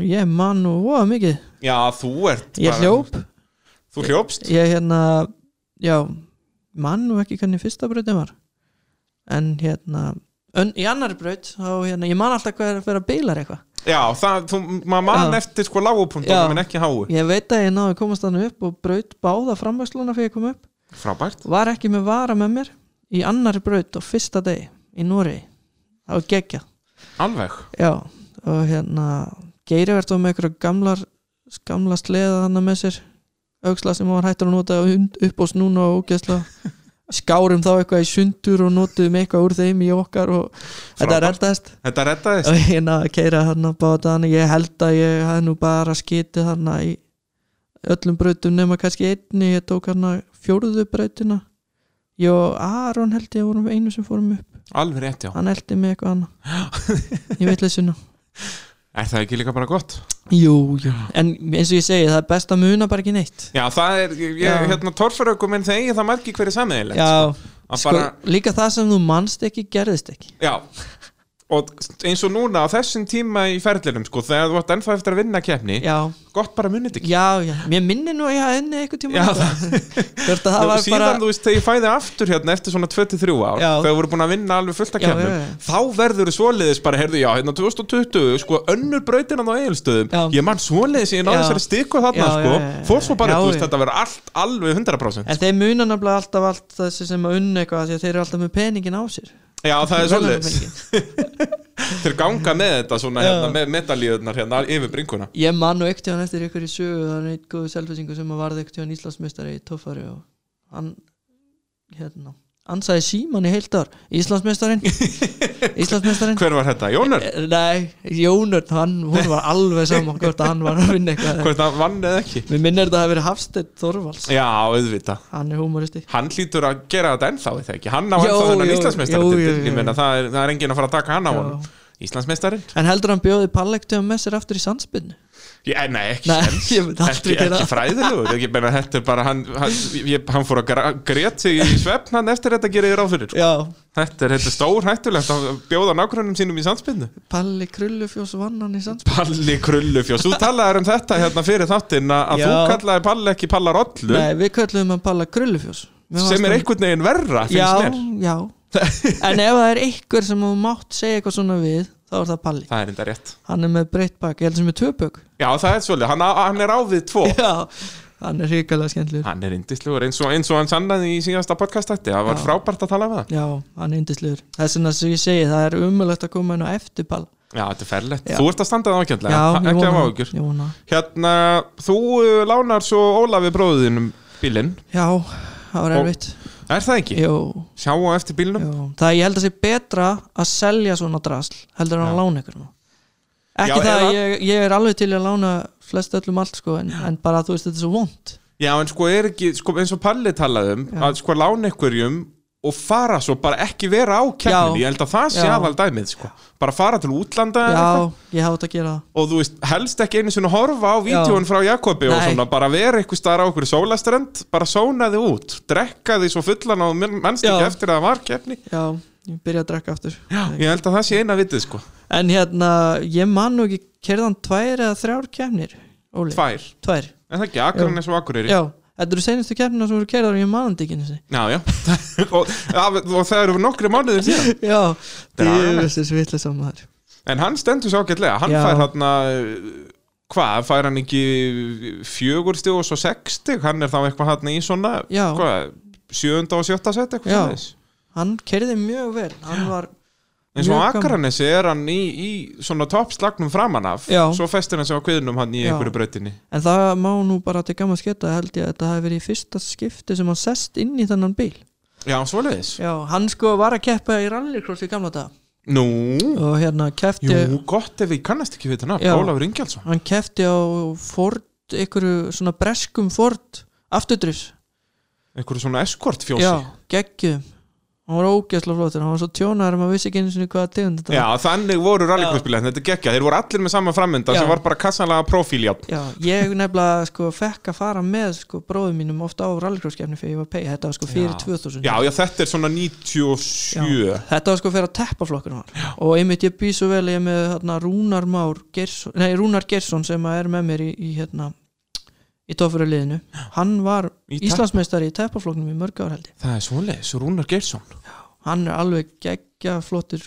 B: ég man nú voða mikið
A: Já, þú ert
B: Ég hljóp,
A: Þú hljópst?
B: ég hérna Já, man nú ekki hvernig fyrsta brautin var En hérna ön, Í annar braut, þá hérna Ég man alltaf hvað er að vera bílar eitthvað
A: Já, það, þú, maður mann
B: Já.
A: eftir sko lágupunktunum
B: Já.
A: en ekki háu
B: Ég veit að ég náði að komast þannig upp og braut báða framvöxluna fyrir ég kom upp
A: Frábært
B: Var ekki með vara með mér Í annar braut á fyrsta deg Í Noregi, það var geggjað
A: Alveg
B: Já, og hérna Geirivert var með einhverja gamlar gamla sleða hann með sér auksla sem hann var hættur að nota og hund- upp á snúna og ógeðsla skárum þá eitthvað í sundur og notuðum eitthvað úr þeim í okkar og þetta
A: Frábært.
B: reddast
A: Þetta reddaðist
B: og hérna keira hann að báta hann ég held að ég hafði nú bara skitið hann í öllum brautum nema kannski einni, ég tók hann að fjóruðu brautina ég og Aron held ég vorum einu sem fórum upp
A: Alveg rétt, já
B: hann eldi mig eitthvað annað ég veit leysuna
A: Er það ekki líka bara gott?
B: Jú, jú, en eins og ég segi það er best að muna bara ekki neitt
A: Já, það er, ég,
B: Já.
A: ég, hérna, torfarökum en þegi það margi hverju sammeðilegt
B: Já,
A: Að
B: sko,
A: bara,
B: líka það sem þú manst ekki gerðist ekki
A: já Og eins og núna á þessum tíma í ferðlinum sko, þegar þú átt ennþá eftir að vinna keppni
B: Já,
A: Gott bara munið ekki
B: já, já, mér minni nú að ég hafa enni eitthvað tíma
A: Já,
B: Hvort að það var
A: Síðan
B: bara
A: þú veist, þegar ég fæði aftur hérna eftir svona 23 ár
B: Já.
A: þegar voru búin að vinna alveg fullt að
B: Já,
A: kemnum
B: já, já.
A: þá verður þú svoleiðis bara, heyrðu, já, hérna 2020 sko, önnur brautina á eigilstöðum
B: Já.
A: ég mann svoleiðis, ég náði
B: Já.
A: þessari stikku þarna,
B: Já,
A: sko,
B: já, já, já.
A: fór svo bara
B: Já,
A: þú veist,
B: já.
A: þetta verður allt alveg 100%
B: En þeir muna nefnilega alltaf allt þessi sem að unna eitthvað af því að þeir eru alltaf með peningin á sér
A: Já, það er svoleiðis,
B: Verðlaunapenninginn.
A: þeir ganga með þetta svona,
B: Já.
A: hérna, með metalíðunar hérna yfir bringuna
B: Ég man nú ekkert hann eftir ykkur í sögu það er einn góðu selfisingu sem að varði ekkert hann Íslandsmeistari í tófari og hann hérna, ansæði síman í heilt ár Íslandsmeistarin Íslandsmeistarin
A: Hver var þetta? Jónur?
B: Nei, Jónurn, hann, hún var alveg saman hvort að hann var að vinna eitthvað
A: Hvort það vann eða ekki?
B: Mér minnir þetta að hafa verið Hafsteinn Þorvalds
A: Já, auðvita
B: Hann er humoristi
A: Hann hlýtur að gera þetta ennþá, er það ekki? Hann á
B: Jó,
A: ennþá þennan
B: jó, jó,
A: Íslandsmeistarinn
B: jó,
A: Ég
B: jó.
A: meina, það er, það er enginn að fara að taka hann á
B: Já.
A: hann Íslandsmeistarinn?
B: En heldur hann bjóði pallektum með sér aftur í sandspinnu
A: Já, eh, nei, ekki
B: Nei,
A: séns.
B: ég myndi aldrei
A: ekki,
B: gera
A: ekki
B: það.
A: fræðilegur Ég meina, þetta er bara, hann, hann, ég, hann fór að gra- grét sig í svefn hann eftir þetta gerir ég ráð fyrir sko.
B: Já,
A: Þetta er, þetta er stór hættulegt að bjóða nákvæmum sínum í sandspinnu
B: Palli Krullufjós vann hann í sandspinnu
A: Palli krullufjós, þú talaðir um þetta hérna fyrir þáttinn að að
B: Já.
A: þú kallaðir Palli ekki Pallarollu
B: Nei, við köllum hann Palla Krullufjós Mér fannst
A: sem er
B: hann-
A: einhvern veginn verra, finnst
B: Já,
A: mér
B: já, en ef það er einhver sem þú mátt segja eitthvað svona við þá er það Palli
A: Það er enda rétt
B: hann er með breytt bak, ég held sem er tvö bök
A: Já, það er svolítið, hann, á- hann er á við tvo
B: já, hann er hrikalega skemmtilegur
A: Hann er indislegur eins og, eins og hann sannaði í síðasta podcastætti Það var
B: Já.
A: frábært að tala við hann
B: já, hann er yndislegur þess vegna sem ég segi, það er umulagt að koma inn á eftir Palla
A: Já, þetta er ferlegt
B: Já.
A: Þú ert að standa það
B: já,
A: ákjöndlega
B: ég
A: Ekki af
B: vona,
A: áhugur
B: ég vona
A: Hérna, þú uh, lánar svo Ólafi bróðinum bílinn
B: já, það var
A: Og-
B: erfitt
A: Er það ekki?
B: Jú,
A: Sjá á eftir bílnum
B: jú. það er, ég held að sé betra að selja svona drasl heldur en að
A: Já.
B: lána ykkur nú ekki
A: Já,
B: það,
A: eða-
B: að ég, ég er alveg til í að lána flest öllum allt sko, en, en bara þú veist þetta er svo vond
A: Já, en sko er ekki, sko, eins og Palli talaði um
B: Já.
A: að sko lána einhverjum og fara svo bara ekki vera á kemni
B: Já.
A: ég held að það sé
B: Já.
A: aðal dæmið sko. bara fara til útlanda eða eitthvað.
B: já, ég hátt að gera það
A: og þú veist, helst ekki einu sinni horfa á vídjón frá Jakobi og
B: Nei.
A: svona bara vera einhver staðar á okkur sólaströnd bara sóna þið út, drekka þið svo fullan og mennst ekki
B: Já.
A: eftir að það var kefni
B: já, ég byrja að drekka aftur
A: ég held að það sé eina vitið sko,
B: En hérna, ég man nú ekki kerðan tvær eða þrjár kemnir Óli,
A: tvær
B: tvær
A: en það ekki, Akurinn er svo Akureyri
B: Já, þetta eru seinustu kemnina sem voru kerðar og ég man þetta ekki einu sinni
A: já, já, og, af- og það eru nokkri mánuðir síðan
B: Já,
A: er
B: það er
A: agalegt.
B: þessi svitlega saman
A: en hann stendur svo ágætlega, hann
B: Já.
A: fær hann hvað, fær hann ekki fjögur stig og svo sex stig hann er þá eitthvað hann í svona
B: Já.
A: hvað, sjöunda og sjötta set eitthvað
B: Já.
A: svoleiðis.
B: Hann kerði mjög vel, hann var
A: eins og á
B: Mjög gaman.
A: Akranesi er hann í, í svona toppslagnum framan af
B: Já.
A: svo festir hann sig á kviðnum hann í
B: Já.
A: einhverju brautinni
B: En það má nú bara til gaman sketa held ég að þetta hafi verið í fyrsta skipti sem hann sest inn í þennan bíl
A: Já, svoleiðis
B: Já, hann sko var að keppa í rallycross í gamla dag
A: Nú,
B: og hérna kefti
A: jú, gott ef ég kannast ekki við þetta nafn
B: Já.
A: Ólafur Ingjaldsson
B: hann kefti á Ford, einhverju svona breskum Ford afturdrifs
A: einhverju svona escort fjósi
B: Já, geggjum Hann var ógeðslega flottur, hann var svo tjónar maður vissi ekki einu sinni hvaða tegund þetta var.
A: þannig voru rallycrossbílæðin, þetta er gekkja þeir voru allir með sama framönda
B: Já.
A: sem var bara kassanlega profíljáp
B: Já, ég nefnilega sko fekk að fara með sko bróðum mínum ofta á rallycrosskeppni fyrir ég var pay, þetta var sko fyrir
A: Já.
B: 2000
A: Já, já, þetta er svona
B: Já.
A: 97
B: Þetta var sko fyrir að teppa flokkurinn var og einmitt ég býð svo vel ég er með hérna, Rúnar Már Geirsson, nei Rúnar Geirsson sem að er með mér í, í hérna í tófuru liðinu, hann var
A: Í tepp-
B: Íslandsmeistari í teppafloknum í mörg ár held ég
A: Það er svoleiðis, Rúnar Geirsson
B: hann er alveg geggja flottur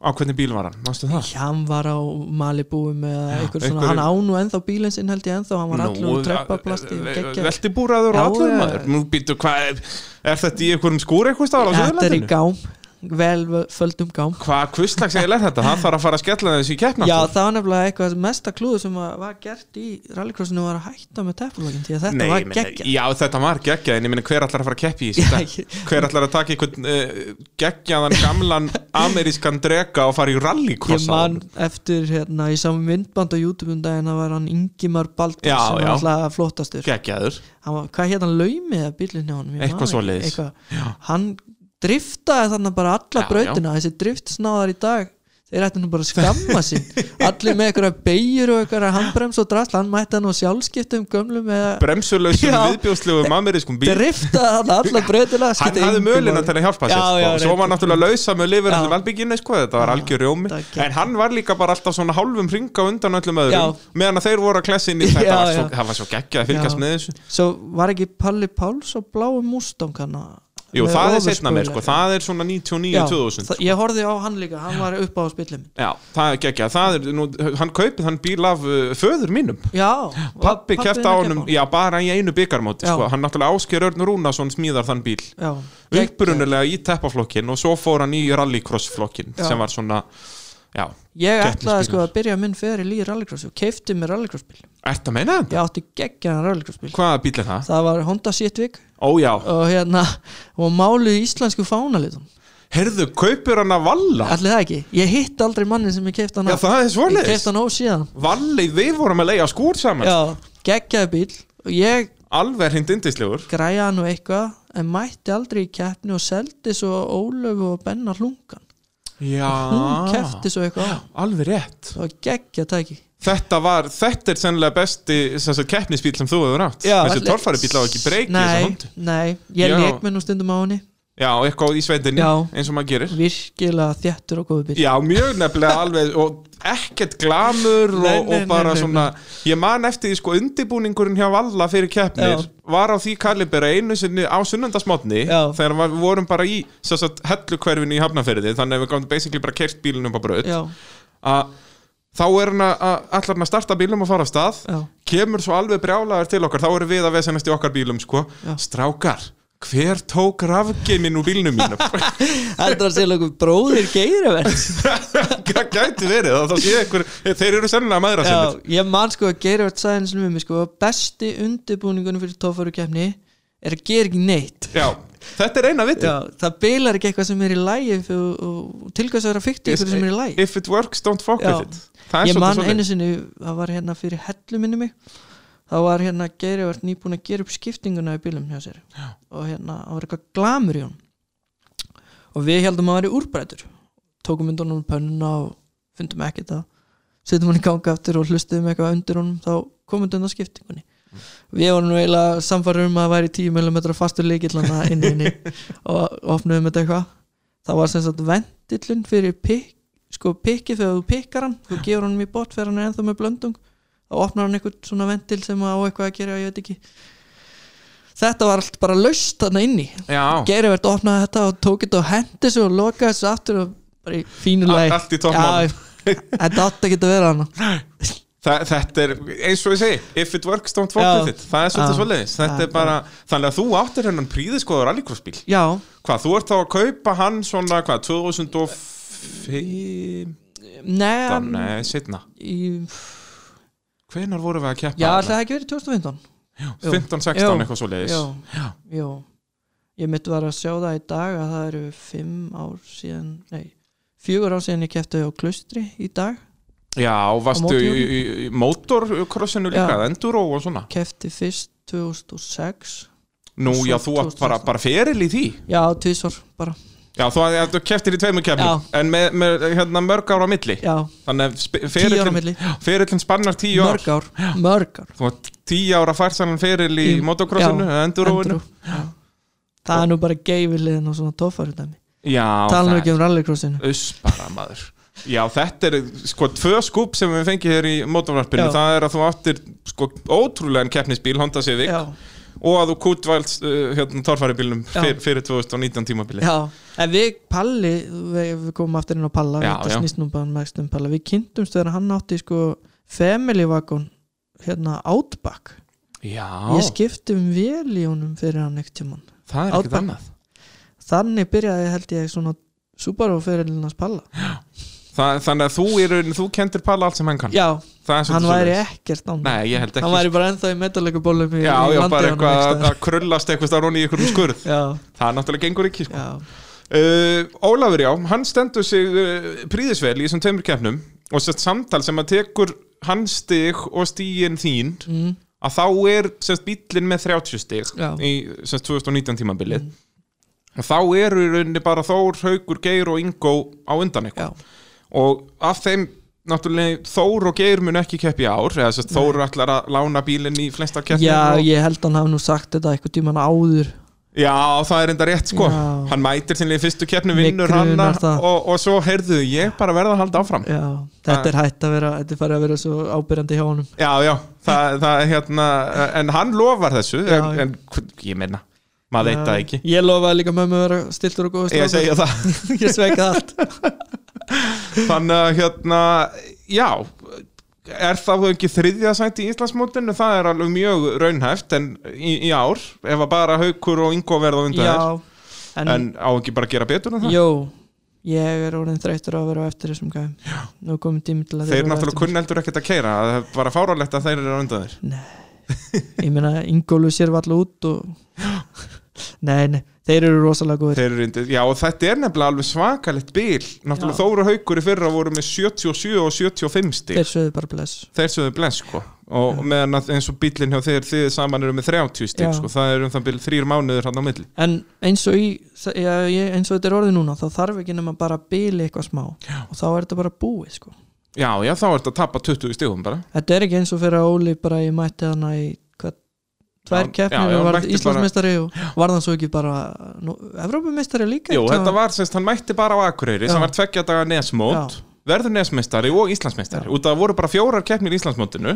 A: Á hvernig bíl var hann, mástu það?
B: hann var á Malibu með einhver
A: einhverjum-
B: svona, hann á nú ennþá bílinn sinn held ég ennþá, hann var allur úr treppaplasti og geggja,
A: Velti búraður
B: Já,
A: og allur
B: já.
A: maður Nú býtu, hvað er, er þetta í einhverjum skúr eitthvað stála á
B: þetta er í
A: Suðurlandinu?
B: gám vel földum gám
A: Hvað kvistlags eiginlega er þetta? Það þarf að fara að skella þessi í keppna
B: Já, það var nefnilega eitthvað mesta klúðu sem að var gert í rallycrossinu var að hætta með teppalókin því að þetta
A: Nei,
B: var
A: meni,
B: geggja
A: já, þetta var geggja en ég minna hver allar að fara að keppi í
B: Já,
A: þessi
B: ég-
A: hver allar að taka einhvern uh, geggjaðan gamlan amerískan drega og fara í
B: Ég
A: rallycross á
B: man
A: honum?
B: eftir hérna, ég sá myndband á YouTube um daginn það var hann Ingimar Baldur
A: Já,
B: sem var
A: já.
B: alltaf flottastur
A: geggjaður
B: Hann var, hvað hérna laumið að bílinni á honum Ég man
A: Eitthvað
B: ekki,
A: svoleiðis.
B: eitthvað. Hann driftaði þannig bara alla
A: Já,
B: brautina þessi driftsnáðar í dag þeir ættu nú bara að skamma sín allir með einhverja beigjur og einhverja handbrems og drasl hann mætti hann á sjálfskiptum gömlum eða
A: bremsuleysum,
B: Já.
A: viðbjóðslegum um amerískum bíl
B: driftaði hann alla brautina
A: hann hafði mölina til að hjálpa sér
B: Já,
A: sko.
B: já,
A: og svo
B: reyndar.
A: var náttúrulega lausa með lifur
B: Já.
A: allir velbygginu, sko, þetta var
B: Já,
A: algjör rjómi
B: það er gegn-
A: en hann var líka bara alltaf svona hálfum ringa undan öllum öðrum,
B: Já.
A: meðan að þeir voru að klessa inn í
B: Já,
A: þetta, var svo,
B: já.
A: það var svo geggjað að fylgjast
B: Já.
A: með þessu
B: Svo var ekki Palli Páls og bláum Mustang hana
A: Jú,
B: Með
A: það er
B: ofurspoiler.
A: setna mér, sko, það er svona
B: Já,
A: 99-2000
B: það- Ég horfði á hann líka, hann var upp á spillið minn
A: Já, það er geggjað, það er, nú, hann kaupið hann bíl af uh, föður mínum
B: Já,
A: Pappi kæft á honum, já,
B: Já,
A: bara í einu byggarmóti,
B: Já.
A: sko, hann náttúrulega ásker Örn Rúnason smíðar þann bíl
B: já geggjað.
A: upprunulega í teppaflokkin og svo fór hann í rallycrossflokkin
B: Já.
A: sem var svona, já,
B: Ég ætlaði
A: keppnisbílar.
B: sko að byrja minn feril í rallycross og keifti mér rallycrossbíl
A: ert að meina
B: Ég
A: þetta?
B: átti geggjaðan rallycrossbíl
A: Hvaða bíl er það?
B: Það var Honda Civic
A: Ó já,
B: og hérna og máluð í íslensku fánalitum
A: heyrðu, kaupir hann að valla?
B: Ætli það ekki, ég hitt aldrei manni sem ég keifti hann
A: Já,
B: af.
A: það er
B: Ég keifti
A: svoleiðis
B: hann á síðan
A: Valli, við vorum að leiða skúr saman
B: Já, geggjaði bíl og ég
A: Alveg hrind indislegur
B: græja hann og eitthvað en mætti aldrei í keppni og seldi svo Ólöfu og Benna hlungan
A: Já
B: hún keppti svo eitthvað á.
A: Alveg rétt
B: það var geggja tæki
A: sko. Þetta var, þetta er sennilega besti þessi keppnisbíl sem þú hefur átt Þessi torfari bíl á ekki breyki þessa
B: nei,
A: hóndu
B: nei, ég
A: Já.
B: leik mér nú stundum á henni
A: Já, og eitthvað í sveitinni,
B: Já.
A: eins og maður gerir
B: virkilega þjættur og góðu bíl
A: Já, mjög nefnilega alveg og ekkert glamur og,
B: Nei, nei,
A: og bara
B: nei, nei,
A: svona ég man eftir því sko undirbúningurinn hjá Valla fyrir keppnir
B: Já.
A: var á því kalibera einu sinni á sunnundasmotni
B: Já.
A: þegar við vorum bara í sem sagt, helluhverfinu í Hafnarferði þannig að við gáðum basically bara kert bílunum á braut
B: já,
A: að þá er hann að að- ætlar hann að starta bílum og fara af stað
B: já,
A: kemur svo alveg brjálaður til okkar þá erum við að vesenast í okkar bílum sko
B: Já.
A: strákar, hver tók rafgeimin úr bílnum mínum?
B: þetta var sérlega einhver bróðir geirivert
A: það gæti verið, þá- þá sé einhver þeir eru sennilega maður að
B: já, ég man sko að geirivert sagði hans með mig sko, besti undirbúningunum fyrir tófaru keppni er að gera ekki neitt
A: Já, þetta er eina viti
B: já, það bilar ekki eitthvað sem er í lægi og, og tilgæðs að vera fykti eitthvað sem er í lægi
A: If it works, don't fuck
B: Já.
A: with it Það er
B: ég man
A: svolítið
B: einu
A: svolítið
B: sinni, það var hérna fyrir hellu minni mig þá var hérna Geiri var nýbúin að gera upp skiptinguna í bílum hjá sér Já. og hérna, það var eitthvað glamur í hún og við heldum að hann væri úrbrætur tókum undan hún pönnuna og fundum ekki það setjum hann í ganga aftur og hlustuðum eitthvað undir honum þá komum undan skiptingunni við vorum nú eiginlega samfærum um að það væri 10 mm fastur leikillana inn í henni og opnuðum þetta eitthvað það var sem sagt vendillin fyrir pikk sko pikkið þegar þú pikkar hann þú gefur hann í bót fyrir hann er ennþá með blöndung þá opnar hann einhvern svona vendil sem á eitthvað að gera, ég veit ekki þetta var allt bara laust þarna inni
A: Já,
B: Geirivert opnaði þetta og tók þetta og hendi svo og lokaði þessu aftur og bara í fínu
A: Allt-
B: lagi
A: allt í toppmálum.
B: Já, þetta átti ekki að vera hann
A: það, þetta er eins og ég segi If it works, don't fuck
B: Já.
A: with it Það er svolítið
B: Já.
A: svolítið Þetta
B: Já,
A: er bara, þannig að þú áttir hennan príðiskoður rallycrossbíl
B: já,
A: Hvað, þú ert þá að kaupa hann svona, hvað, 2015
B: neðan
A: Nei, setna Hvenar vorum við að keppa?
B: já, það hefði ekki verið 2015 jú.
A: 15, 16,
B: Jú.
A: eitthvað svo leiðis
B: já, já ég mitt var að sjá það í dag að það eru fimm ár síðan nei, fjögur ár síðan ég kefti á klustri í dag,
A: Já, og varstu í,
B: mótorhjóli.
A: í, í mótorkrossinu líka,
B: Já.
A: enduro og svona
B: kefti fyrst 2006
A: Nú,
B: Svo
A: já, þú átt bara,
B: 2016.
A: bara feril í því
B: já, tvisvar bara
A: Já, þú, ja, þú keftir í tveimur kefnum En með, með hérna, mörg ára á milli
B: já,
A: Þannig að sp-
B: tíu ára
A: ferillin,
B: milli
A: ferillin spannar tíu ár
B: mörg ár, mörg ár
A: Þú átt tíu ára færsanan feril í
B: Í-
A: motocrossinu,
B: já,
A: enduróinu
B: Andrew, já. það er nú bara geifiliðin og svona tófari dæmi
A: Já,
B: tala nú
A: það
B: ekki um rallycrossinu
A: er uss bara maður Já, þetta er sko tvö skúp sem við fengið hér í motorvarpinu
B: Já.
A: Það er að þú áttir sko ótrúlegan keppnisbíl Honda Civic
B: já,
A: og að þú kútvælst uh, hérna, torfæribílnum
B: Já.
A: fyr, fyrir 2019 tímabili
B: já, en við Palli við, við komum aftur inn á Palla
A: Já,
B: þetta
A: já.
B: snýst nú bara mest um Palla við kynntumst þegar hann átti sko family wagon hérna Outback
A: Já,
B: ég skipti um vel í honum fyrir hann ekkert tímann
A: það er ekkert
B: Outback.
A: annað
B: þannig byrjaði held ég svona Subaru fyrirlinnars Palla
A: Þa, Þannig að þú, er, þú kendir Palla allt sem hann kann
B: já,
A: Það er svolítið
B: hann væri
A: svoleiðis.
B: ekkert án
A: Nei, ég held
B: hann
A: ekki
B: væri bara ennþá í metalöku bólum í,
A: Já,
B: í
A: já,
B: landi
A: bara
B: honum
A: eitthvað
B: einhvers
A: að
B: staðar.
A: að krullast eitthvað starfón í einhverjum skurð
B: já,
A: Það náttúrulega gengur ekki sko.
B: já,
A: uh, Ólafur, já, hann stendur sig uh, príðisvel í þessum tveimur keppnum og sett samtal sem að tekur hans stig og stíin þín
B: mm,
A: að þá er sérst bíllinn með 30 stig
B: Já.
A: í sérst 2019 tímabilið og þá eru í rauninni bara Þór, Haugur, Geir og Ingo á undan
B: já,
A: eitthvað og af þeim náttúrulega Þór og Geir mun ekki keppi ár eða sérst Þór ætlar að lána bílinn í flesta keppnum
B: já,
A: og...
B: ég held hann hafi nú sagt þetta eitthvað tíman áður
A: já, það er enda rétt sko
B: Já.
A: hann mætir sinni í fyrstu keppnu
B: Mig
A: vinnur
B: grunar
A: hanna
B: það.
A: og, og svo heyrðu ég bara verða að halda áfram
B: já, þetta er hætt að vera þetta er farið að vera svo ábyrjandi hjá honum
A: já, já, það, það er hérna en hann lofar þessu
B: Já, já.
A: en, en ég meina, maður veit það ekki
B: Já, ég lofaði líka mömmu að vera stiltur og góð
A: ég segja það
B: ég sveika allt
A: Þannig að hérna, já er það þó ekki þriðja sæti í Íslandsmótinu, það er alveg mjög raunhæft en í, í ár, ef að bara haukur og Ingo verða á undan þér
B: já, en,
A: en á ekki bara að gera betur en það
B: Jó, ég er orðin þreytur á að vera á eftir þessum gæm Nú er komin tími til að
A: þeir
B: vera á
A: náttúrulega
B: eftir
A: kunni heldur ekkert að keira það er bara fárálegt að þeir eru á undan þér
B: mér. Ég meina, Ingólu sér var alltaf út og Nei, nei, þeir eru rosalega góðir
A: Þeir eru undir, já og þetta er nefnilega alveg svakalegt bil Náttúrulega
B: Já.
A: Þóru Haukur í fyrra voru með 77 og 75 stíl
B: Þeir sögðu bara bless
A: Þeir sögðu bless sko Og meðan að eins og bílinn hjá þeir, þið saman eru með 30 stíl
B: Já.
A: sko Það er um það bil þrýr mánuður hann á milli
B: En eins og, í, já, ég, eins og þetta er orðið núna þá þarf ekki nema bara að bíli eitthvað smá já. og þá er þetta bara búið sko.
A: Já, já, þá ertu að tappa 20 stíðum bara
B: Þetta er ekki eins og fyrir að Óli bara ég mætti hana í hvað,
A: Já,
B: tvær
A: já,
B: keppnir
A: já,
B: og varð
A: mætti
B: Íslandsmeistari og varð hann svo ekki bara nú, Evrópumeistari líka
A: Jú,
B: einhvern
A: þetta
B: tímann?
A: var, semst, hann mætti bara á Akureyri
B: Já.
A: sem var tveggja daga nesmót
B: Já.
A: verður nesmeistari og Íslandsmeistari út af það voru bara fjórar keppnir í Íslandsmótinu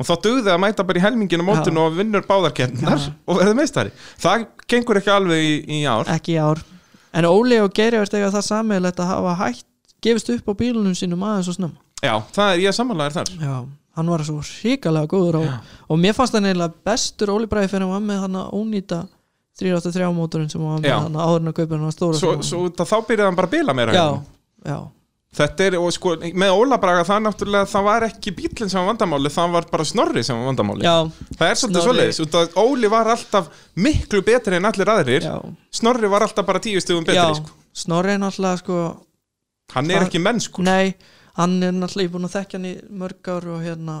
A: og þá dugði að mæta bara í helminginu á mótinu og vinnur báðar keppnar og verður meistari það gengur ekki alveg í, í ár
B: ekki í ár en Óli og Geiri verðst eiga það sammeðilegt að hafa hægt gefist upp á bílunum sínum aðeins og snemma
A: já, það er ég samanlegar þar
B: já, hann var svo ríkalega góður á, og mér fannst hann eiginlega bestur Óli Bræði fyrir hann var með hann að ónýta 383 mótorinn sem hann var með
A: Já.
B: hann áður en að kaupa hann að stóra
A: svo,
B: snúning.
A: svo út af þá byrjaði hann bara að bila meira
B: já,
A: hérna.
B: já,
A: Þetta er, og sko, með Óla Braga það er náttúrulega, það var ekki bílinn sem var vandamáli það var bara snorri sem var vandamáli
B: já,
A: það er svolítið
B: Snorri.
A: svoleiðis, út að Óli var alltaf miklu betri en allir aðrir
B: já,
A: snorri var alltaf bara tíu stugum
B: já.
A: betri, sko
B: Snorri er náttúrulega sko
A: hann er
B: Það-
A: ekki mennskur,
B: Nei, hann er náttúrulega ég er búinn að þekkja hann í mörg ár og hérna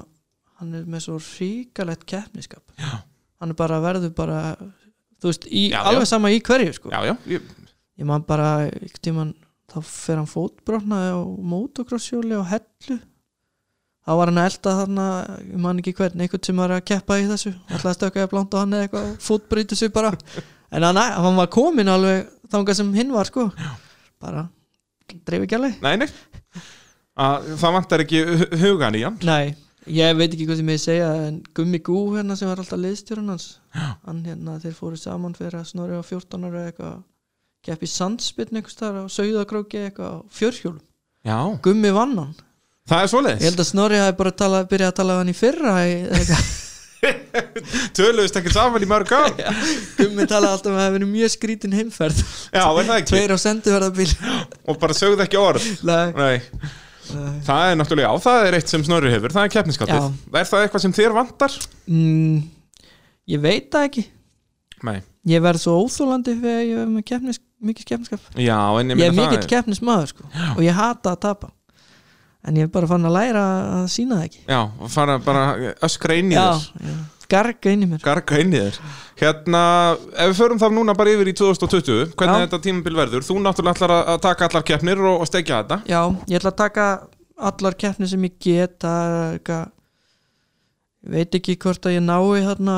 B: hann er með svo ríkalegt keppniskap
A: Já.
B: hann er bara verður bara þú veist, í,
A: Já, já.
B: alveg sama í hverju sko.
A: já, já, ég,
B: ég man bara ykkur tíman þá fer hann fótbrotnaði á motocrosshjóli og hellu þá var hann að elda þarna ég man ekki hvern, einhvern sem var að keppa í þessu alltaf stökkaði blant á hann eða eitthvað fótbrýti sig bara en hann, hann var komin alveg þangað sem hinn var sko. bara dreif ekki alveg
A: nei, nei að, það vantar ekki hu- hugan í hann
B: Nei, ég veit ekki hvað sem ég segja en Gummi Gú hérna sem var alltaf liðstjórun hans hann hérna þeir fóru saman fyrir að snorri á 14 ára eða eitthvað kepp í sandspinn einhvers þar á Sauðakróki eitthvað á fjörhjólum
A: já,
B: Gummi vann hann
A: það er
B: Ég
A: svoleiðis
B: held að Snorri hafi bara tala, byrjað að tala við hann í fyrra í- eða eitthvað.
A: töluðust ekki saman í mörg ár já,
B: Gummi talaði alltaf um að það hefur mjög skrítin heimferð
A: er það ekki,
B: Tveir á senduverðabíl
A: og bara sögðu ekki orð
B: Nei,
A: nei,
B: nei.
A: það er náttúrulega, já, það er eitt sem snorri hefur það er keppniskapið, er það eitthvað sem þér vantar?
B: Mm, Ég veit það ekki
A: nei,
B: Ég verð svo óþólandi þegar ég verð með keppnis, mikið skemmskap
A: já, en ég
B: ég er
A: meina
B: mikill
A: það er
B: keppnismæður sko, og ég hata að tapa en ég er bara fann að læra að sína það ekki
A: já, og fara bara öskra inn í
B: já,
A: þér
B: já, garga inn í mér
A: garga inn í þér hérna, ef við förum þá núna bara yfir í 2020 hvernig
B: Já.
A: þetta tímabil verður, þú náttúrulega ætlar að- að taka allar keppnir og, og stekja þetta
B: já, ég ætla að taka allar keppni sem ég get það er eitthvað- ég veit ekki hvort að ég nái þarna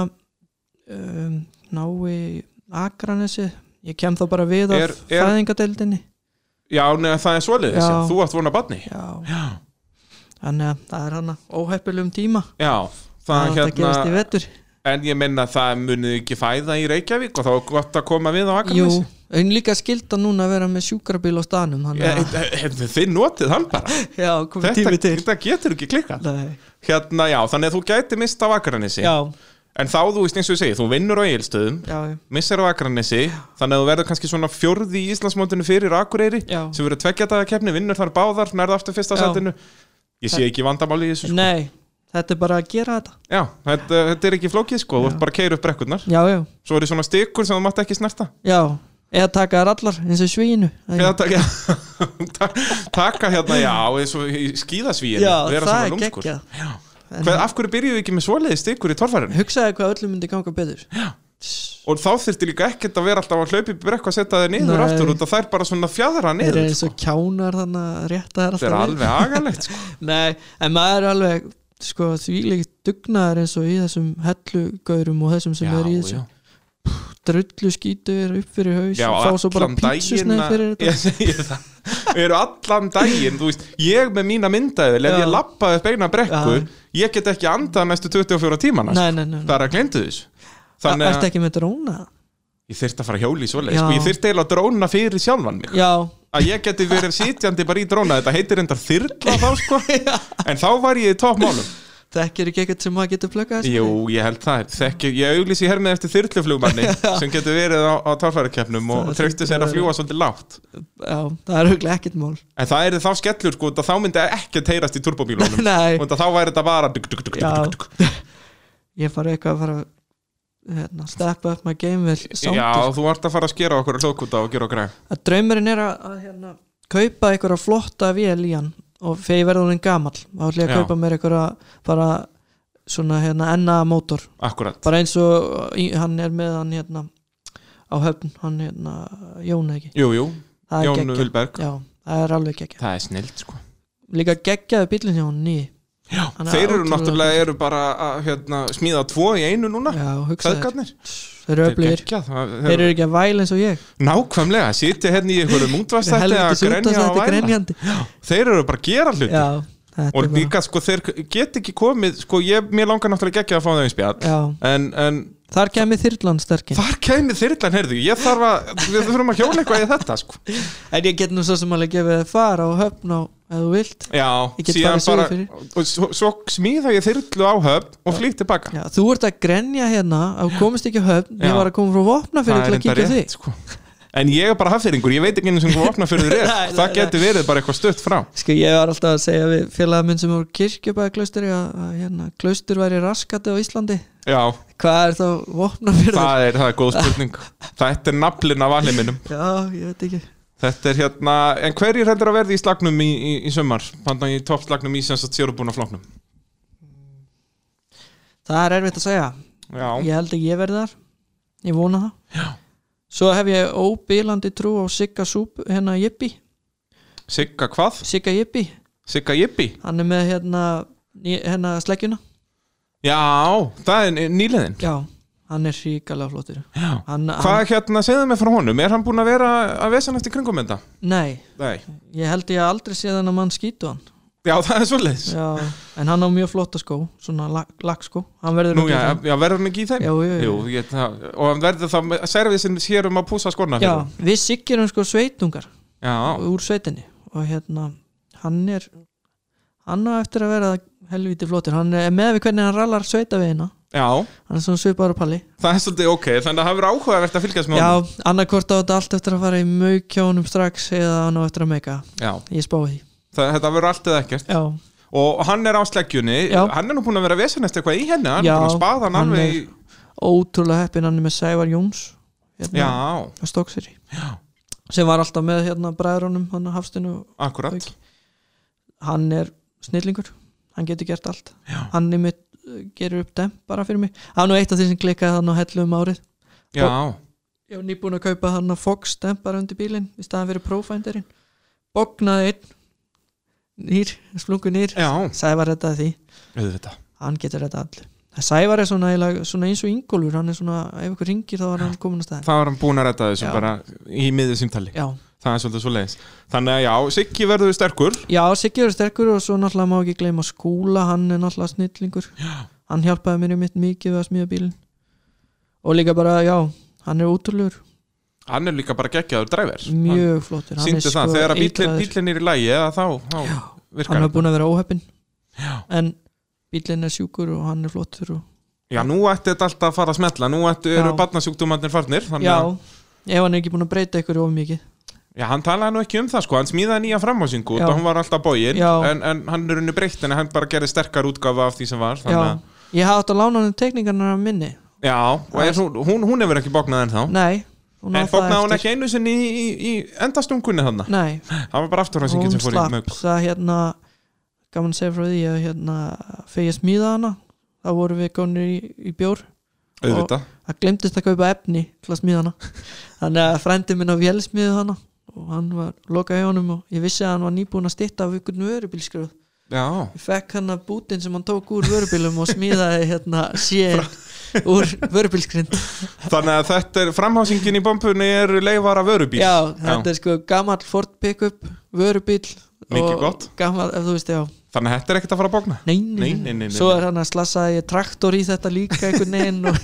B: um, nái Akranesi ég kem þá bara við
A: Er-
B: af
A: er-
B: fæðingadeildinni
A: já, neða, það er svoleiðis,
B: Já.
A: þú átt vona badni
B: já,
A: já,
B: þannig að það er hana óheppilegum tíma
A: já það,
B: að þetta
A: hérna,
B: gerist í vettur
A: en ég minna það munið ekki fæða í Reykjavík og þá er gott að koma við á
B: jú,
A: Akranesi
B: en líka skilta núna að vera með sjúkrabíl á stanum þannig
A: Eh,
B: að-
A: eh, eh, þið notið hann bara
B: já, komið
A: þetta,
B: tími til
A: þetta getur ekki klikkað
B: Nei.
A: hérna, já, þannig að þú gæti mist af Akranesi
B: Já,
A: en þá, þú veist eins og ég segi, þú vinnur á Egilstöðum
B: já,
A: missar á Akranesi þannig að þú verður kannski svona fjórði í Íslandsmótinu fyrir Akureyri
B: Já.
A: sem verður tveggja daga keppni, vinnur þar báðar nærða aftur fyrsta
B: Já.
A: setinu ég sé ekki vandamáli í þessu sko.
B: nei, þetta er bara að gera þetta
A: Já, þetta, þetta er ekki flókið sko, þú ert bara að keira upp brekkurnar
B: Já, já,
A: svo eru svona stikur sem þú mátt ekki snerta
B: já, eða taka þær allar eins og í svíinu
A: Eða taka, ta- taka hérna, já, eins og í skíðasvíinu
B: Já,
A: vera
B: það
A: svona
B: er
A: lúmskur.
B: geggjað En
A: Hvað, af hverju byrjuðu ekki með svoleiði stikur í torfærinu?
B: Hugsaði hvað öllum myndi ganga betur
A: Og þá þurfti líka ekkert að vera alltaf að hlaupi brekku að setja þeir niður
B: Nei.
A: aftur út að þær bara svona fjadra
B: Þeir eru
A: niður
B: eins
A: sko.
B: og kjánar þannig að rétta þær
A: Þetta er
B: alltaf vel.
A: alveg agalegt sko.
B: Nei, en maður er alveg sko þvílíkt dugnaðar eins og í þessum hellugaurum og þessum sem
A: Já,
B: er í þessu
A: já.
B: drullu skítur upp fyrir haus
A: Já,
B: og fá svo bara
A: allan daginn
B: pítsusneið
A: að-
B: fyrir þetta
A: Ég segi það Við erum allan daginn, þú veist Ég með mína myndaðil, ef
B: Já.
A: ég lappaði upp eina brekku
B: Já.
A: Ég get ekki andað næstu 24 tímana
B: Nei, nei,
A: sko.
B: nei, nei.
A: Það er að glindu þessu
B: Þannig...
A: Þannig
B: Ertu
A: að
B: ekki með dróna?
A: ég þyrfti að fara að hjóli í svoleið
B: Já.
A: sko. Ég þyrfti eiginlega að dróna fyrir sjálfan mig
B: Já,
A: Að ég geti verið sitjandi bara í dróna Þetta heitir endar þyrla þá sko En þá var ég í toppmálum
B: Þekkir ekki eitthvað sem maður getur plöggað
A: Jú, ég held það er Þekki, Ég auglýsi hermið eftir þyrluflugmanni Sem getur verið á, á torfærakeppnum Og
B: Það
A: treysti sér
B: hlýtur
A: að
B: að
A: fljúa svolítið lágt
B: Já, það er huglega ekkert mál
A: En það er þá skellur sko, út að þá myndi ekki teyrast í turbóbílunum
B: Nei,
A: og þá væri þetta bara duk, duk, duk, duk,
B: Já.
A: duk, duk.
B: ég fari eitthvað að fara hérna, step up my game vel
A: Já,
B: samtir
A: þú ert að fara að skera okkur hlókúta og gera okkur að
B: að draumurinn er að, að hérna, kaupa einhverja flotta vél í hann og þegar ég verði hún gamall þá ætlum ég að
A: Já.
B: kaupa mér einhverja bara svona hérna enna mótor
A: Akkurat,
B: bara eins og í, hann er með hann hérna á höfn, hann hérna Jón eða ekki,
A: jú, jú,
B: það er
A: Jón
B: geggjað.
A: Vilberg
B: Já, það er alveg geggja
A: Það er snilt sko
B: líka geggjaði bílinn hjá hann ný
A: Já,
B: Hann er
A: þeir eru
B: ótrúlega-
A: náttúrulega eru bara að hérna, smíða tvo í einu núna
B: Já, hugsaður
A: Feðgarnir
B: Þeir eru öflugir
A: geggjað, það-
B: Þeir eru ekki að væla eins og ég
A: Nákvæmlega, sitja hérna í einhverjum útvarsætti að
B: Helvitis út af
A: grenja og
B: þetta
A: væla
B: grenjandi
A: Þeir eru bara að gera hluti
B: Já, þetta
A: og
B: er bara
A: líka sko þeir get ekki komið sko ég, mér langar náttúrulega ekki að fá þau í spjall
B: Já,
A: en, en
B: þar kemur þyrlan sterkinn
A: þar kemur þyrlan heyrðu, ég þarf að við þurfum að hjóla eitthvað í þetta sko
B: En ég get nú svo sem alveg gefið þér fara og höfn á ef þú vilt
A: já,
B: Ég get farið suður fyrir.
A: og svo, svo smíða ég þyrlu á höfn og flýtt tilbaka
B: Já, þú ert að grenja hérna að þú komist ekki á höfn,
A: Já.
B: ég var að koma frá vopna fyrir til að kíkja á þig
A: sko en ég er bara hafðyringur, ég veit ekki einu sem hvað opna fyrir þér
B: Nei, nei,
A: það getur verið bara eitthvað stutt frá
B: Sko ég var alltaf að segja við félaga minn sem voru kirkjubæði klausteri að, að hérna, klaustur væri raskati á Íslandi
A: já,
B: Hvað er þá vopna fyrir
A: það er, það er góð spurning þetta er naflin af alheiminum
B: Já, ég veit ekki
A: Þetta er hérna, en hverjir heldur að verði í slagnum í, í, í sömmar? Pandan í toppslagnum í sem sagt sérubúna flóknum
B: Það er erfitt að segja
A: Já,
B: Ég held að ég verði þar Ég vona það Já. Svo hef ég óbílandi trú á Sigga Súb hérna Jippi
A: Sigga hvað?
B: Sigga Jippi
A: Sigga Jippi?
B: Hann er með hérna, ný- hérna sleggjuna
A: Já, það er nýliðin
B: Já, hann er ríkalega flottur
A: Já.
B: hann,
A: Hvað
B: hann,
A: hérna, segðu mig frá honum, er hann búin að vera að vesan eftir kringum þetta?
B: Nei,
A: Nei
B: ég held ég aldrei séð hann að mann skýtu hann
A: Já, það er svoleiðis
B: Já, en hann á mjög flotta skó Svona lag, lagskó Hann verður
A: Nú,
B: að
A: já,
B: gera það.
A: já, verður hann ekki í þeim?
B: Já, já, já.
A: Jú, ég, það, og hann verður þá með- servisin sér um að púsa skorna
B: já,
A: fyrir
B: við sigjurum sko sveitungar
A: hann.
B: Úr sveitinni Og hérna, hann er Hann á eftir að vera helviti flottur Hann er með við hvernig hann rallar sveitavegina
A: Já, já,
B: Hann er svona svipaður á palli
A: það er svolítið ok Þannig að það verður áhugavert að fylgjast með honum.
B: Já, annarkvort á þetta allt eftir að fara í mauk hjá honum strax Eða hann á eftir að meika
A: já.
B: Ég spáði því
A: Það, Þetta verður allt eða ekkert
B: Já,
A: Og hann er á sleggjunni,
B: Já.
A: hann er nú búin að vera vesanest eitthvað í henni, hann
B: Já,
A: er búin að spaða hann
B: hann
A: alveg í...
B: ótrúlega heppin hann er með Sævar Jóns
A: Já,
B: hérna, á Stokkseri sem var alltaf með hérna bræðrunum hann Hafstinu
A: akkurat
B: hann er snillingur, hann getur gert allt
A: Já.
B: hann er mitt gerir upp dem bara fyrir mig, hann var nú eitt af því sem klikkaði hann á hellu um árið,
A: Já,
B: ég var nýbúin að kaupa hann að Fox dem bara undir bílinn í staðan fyrir Profinderinn, bognaði einn nýr, splungu nýr
A: já,
B: Sævar þetta því,
A: auðvitað
B: hann getur þetta all Sævar er svona, eiginlega- svona eins og yngolfur hann er svona, ef ykkur ringir þá er hann komin að staðin
A: Það var hann búin að redda þessu
B: Já.
A: bara í miðið símtali
B: Já,
A: Það er svolítið svo leiðis Þannig að já, Siggi verður sterkur
B: já Siggi er sterkur og svo náttúrulega má ekki gleyma skúla, hann er náttúrulega snillingur
A: Já.
B: hann hjálpaði mér í mitt mikið við að smíða bílinn og líka bara, já, hann er útrúlegur
A: Hann er líka bara geggjaður dræver
B: mjög flottur, hann
A: Sýndi
B: er sko
A: það, þegar að bíllinn
B: eitraður.
A: bíllinn er í lægi eða þá, þá virkar
B: hann
A: hann
B: var búin að vera óheppin en bílinn er sjúkur og hann er flottur og...
A: Já, nú ætti þetta alltaf að fara að smetla Nú ættu,
B: Já.
A: eru barnasjúkdómarnir farnir þannig
B: já,
A: að-
B: ef hann er ekki búin að breyta ykkur of mikið
A: Já, hann talaði nú ekki um það sko, hann smíðaði nýja framhásingu
B: Já.
A: og hún var alltaf bógin
B: Já.
A: en, en hann er unni breytt en hann bara gerði sterkar útgáfa af því sem var
B: já,
A: þannig að,
B: ég hafði átt að lána hann um tekningarnar af minni
A: já, og er, hún, hún, hún hefur ekki bóknað ennþá
B: nei, hún á
A: en
B: það
A: bóknaði hún
B: eftir.
A: ekki einu sinni í, í, í endastungunni þannig
B: nei,
A: það var bara afturhásingin
B: hún
A: sem fór í
B: slapp
A: mög
B: það hérna gaman að segja frá því að hérna fyrir ég smíða hana þá vorum við konir í, í bjór
A: auðvitað,
B: það glemtist að kaupa efni til að smíða hana þannig að frendi minn á vélsmíðu hana og hann var lokað hjá honum og ég vissi að hann var nýbúin að stytta af ykkur vörubílskröð
A: já,
B: ég fekk hann að bútin sem hann tók úr vörubílum og smíðaði hérna sér úr vörubílskrind
A: þannig að þetta er framhásingin í bompunni er leifara vörubíl
B: já, þetta er sko gammal Ford pickup vörubíl
A: Mikið
B: og
A: gott.
B: gamall, ef þú veist, já
A: þannig að þetta er ekkert að fara að bókna
B: Nei,
A: Nei, nei, nei, nei,
B: Svo
A: nei.
B: er hann að slasaði ég traktor í þetta líka einhvern veginn og...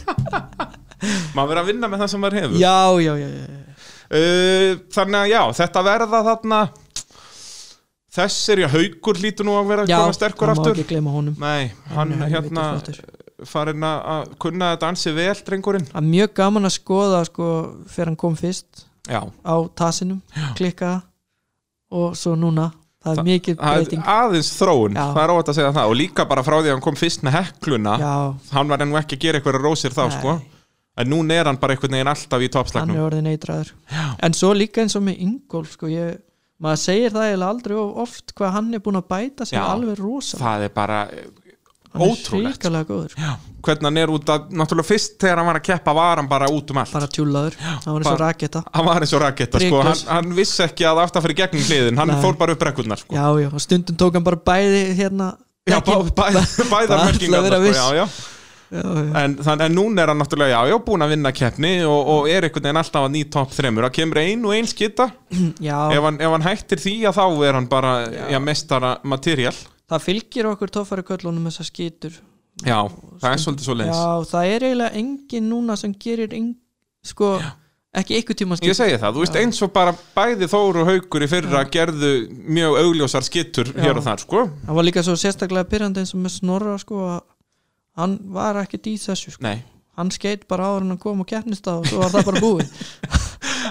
A: maður verið að vinna með það sem maður hefur
B: Já, já, já, já
A: uh, þannig að já, þetta verða þarna þessir, já, haugur lítur nú að vera að
B: Já,
A: koma sterkur
B: hann má
A: aftur
B: ekki gleyma honum
A: Nei, hann
B: er helviti
A: hérna
B: flottur.
A: farin að- að kunna þetta ansi vel, drengurinn
B: Það er mjög gaman að skoða sko fyrir hann kom fyrst
A: Já
B: á tasinum klikkaða og svo núna það er mikið
A: Það er
B: breyting
A: aðeins þróun,
B: Já.
A: það er óvægt að segja það og líka bara frá því að hann kom fyrst með hekluna
B: Já,
A: hann var enn og ekki að gera eitthvað rósir þá
B: Nei.
A: sko. en núna er hann bara einhvern veginn alltaf í
B: hann
A: toppslagnum
B: er orðin eitraður En svo líka eins og með Ingolf sko ég maður segir það eiginlega aldrei of oft hvað hann er búin að bæta sig
A: Já.
B: alveg rosa
A: það er bara eh,
B: hann er
A: ótrúlegt.
B: hrikalega góður sko.
A: hvernig hann er út að, náttúrulega fyrst þegar hann var að keppa var hann bara út um allt
B: bara tjúlaður, hann var eins og
A: bara-
B: raketa
A: hann var eins og raketta sko. hann,
B: Priklaus.
A: hann vissi ekki að aftar fyrir gegnum hliðin hann
B: Nei.
A: fór bara upp rekkurnar sko.
B: Já, já, og stundum tók hann bara bæði hérna
A: Já, bá,
B: ekki-
A: bæ, bæðar
B: bara til að
A: merkingar
B: vera viss.
A: sko, já, já.
B: já, já,
A: En, þann, en núna er hann náttúrulega, já, já, búin að vinna keppni og, og er einhvern veginn alltaf að ný topp þremur það kemur ein og ein skita
B: já
A: ef hann, ef hann hættir því að þá er hann bara já, mestara material
B: það fylgir okkur tófari köllunum þessar skýtur
A: Já, það er svolítið svo leins
B: já, það er eiginlega engin núna sem gerir eng, sko, ekki einhver tíma
A: Ég segi það, þú veist eins og bara bæði Þór og Haukur í fyrra gerðu mjög augljósar skittur hér og þar sko
B: það var líka svo sérstaklega pyrrandi eins og með Snorra sko, að hann var ekkert í þessu sko.
A: Nei,
B: hann skeitt bara áður en hann kom og keppnist á og svo var það bara búið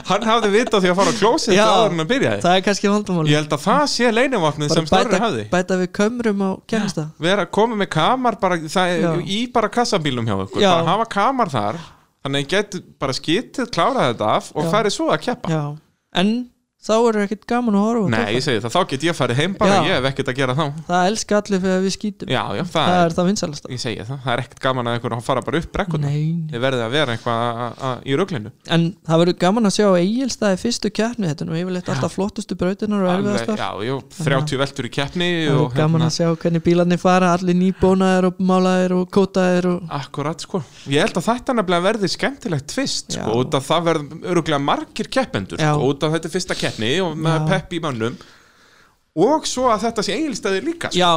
A: hann hafði vitað því að fara á klósið
B: Já.
A: áður en að byrjaði
B: það er kannski vandamál
A: Ég held að það sé leinavapnið sem Snorri
B: bæta,
A: hafði
B: bæta við kömrum á keppnist á
A: vera að koma með kamar bara, það,
B: Já.
A: er- í bara kassabílum hjá okkur
B: Já.
A: bara hafa kamar þar þannig að ég get bara skitið, klárað þetta af og
B: Já.
A: farið svo að keppa
B: já, en þá er ekkert gaman að horfa á
A: Nei,
B: þetta.
A: ég segi það, þá get ég farið heim bara
B: Já.
A: ég hef ekkert að gera þá
B: það elska allir fyrir að við skýtum
A: Já, já, það,
B: það
A: er,
B: er það vinsalasta
A: ég segi það, það er ekkert gaman að einhverjum fara bara upp brekkuna
B: Nei.
A: Þið verðið að vera eitthvað að- að- í ruglinu
B: en það verður gaman að sjá Egilstaði fyrstu keppni þetta er nú yfirleitt alltaf flottustu brautinar og erfiðastar
A: Já, hérna. jú, 30 veltur í keppni
B: það
A: og
B: verður gaman að sjá hvernig bílarnir fara allir nýbónaðir og málaðir og kótaðir og
A: Akkurat sko, ég held að þetta nefnilega verði skemmtilegt fyrst
B: Já.
A: sko, út að það verð öruglega margir keppendur
B: Já.
A: sko, út að þetta er fyrsta keppni og með
B: Já.
A: pepp í mönnum og svo að þetta sé eigilstæði líka sko.
B: já,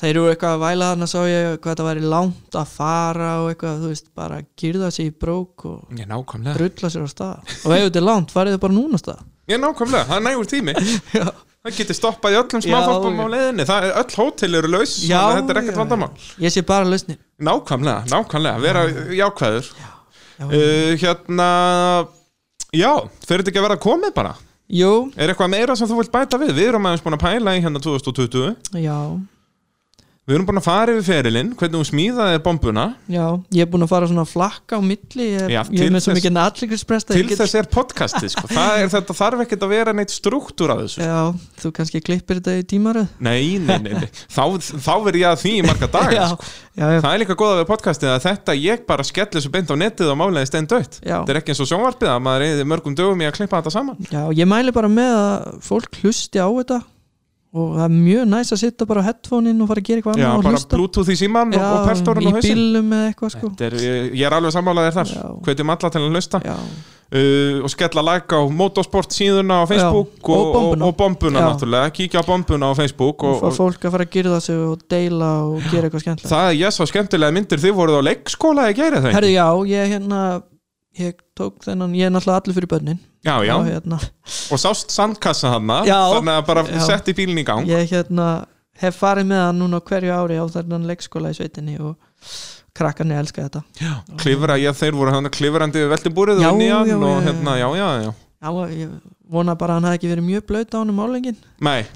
B: þeir eru eitthvað að væla þannig að sá ég hvað það væri langt að fara og eitthvað, þú veist, bara gyrða sig í brók og
A: Ég nákvæmlega,
B: drulla sér á stað og ef þetta er langt, farið þið bara núna á stað
A: ég nákvæmlega, það er nægur tími
B: já,
A: það getur stoppað í öllum
B: Já,
A: smáþorpum
B: já.
A: á leiðinni, það er öll hótel eru laus þannig að þetta er ekkert vandamál
B: ég sé bara lausnir
A: Nákvæmlega, nákvæmlega, vera jákvæður
B: Já.
A: uh, Hérna, já, fyrir þetta ekki að vera komið bara
B: jú,
A: Er eitthvað meira sem þú vilt bæta við? Við erum aðeins búin að pæla í hérna 2020
B: já,
A: Við erum búin að fara yfir ferilinn, hvernig hún smíðaði bombuna
B: já ég er búin að fara svona flakka á milli ég,
A: Já,
B: ég
A: til
B: er með svo
A: þess-
B: mikið aðlíkrisprest
A: Til þess er podcastið, sko. Það er þetta þarf ekkert að vera neitt struktúr að þessu.
B: já, þú kannski klippir þetta í tímaröð
A: Nei, nei, nei, nei. Þá, þá verð ég að því í marga daga,
B: já,
A: sko.
B: já, já,
A: Það er líka góða við podcastið að þetta ég bara skelli þessu beint á netið og málega stein dött.
B: Já.
A: Þetta er ekki eins og sjónvarpið að maður reyði mörgum dögum í að klippa þetta saman.
B: já, ég mæli bara með að fólk hlusti á þetta og það er mjög næst að sitta bara á headphone-in og fara að gera eitthvað
A: Já,
B: annað og
A: bara
B: hlusta
A: Bluetooth í síman og, og peltorun og
B: í
A: hausinn.
B: bílum eða eitthvað sko
A: Þetta Er, ég, ég er alveg sammálaðir þar.
B: Já.
A: Hvetjum alla til að hlusta.
B: já,
A: uh, og skella like á motorsport síðuna á Facebook
B: Já, og bombuna.
A: og, og bombuna
B: Já.
A: náttúrulega, kíkja á bombuna á Facebook
B: og
A: Sko, og,
B: fá
A: og
B: fólk að fara að gyrða sig og deila og gera eitthvað skemmtilegt
A: það er ég svo skemmtilega myndir þið voruð á leikskóla í gæri þeim
B: herðu já, ég hérna ég tók þennan, ég er náttúrulega allur fyrir börnin
A: já, já,
B: og hérna,
A: og sást sandkassa hana
B: Já.
A: þannig að bara
B: Já.
A: sett í bílinn í gang
B: ég hérna hef farið með hann núna á hverju ári á þennan leikskóla í sveitinni og krakkarni elska þetta
A: klifra, já, þeir voru hann klifrandi við veltibúrið
B: Já,
A: og inn í hann
B: já,
A: og
B: já,
A: hérna, já, já, já
B: já, ég vona bara að hann hafði ekki verið mjög blöyt á hann um álengin
A: Nei,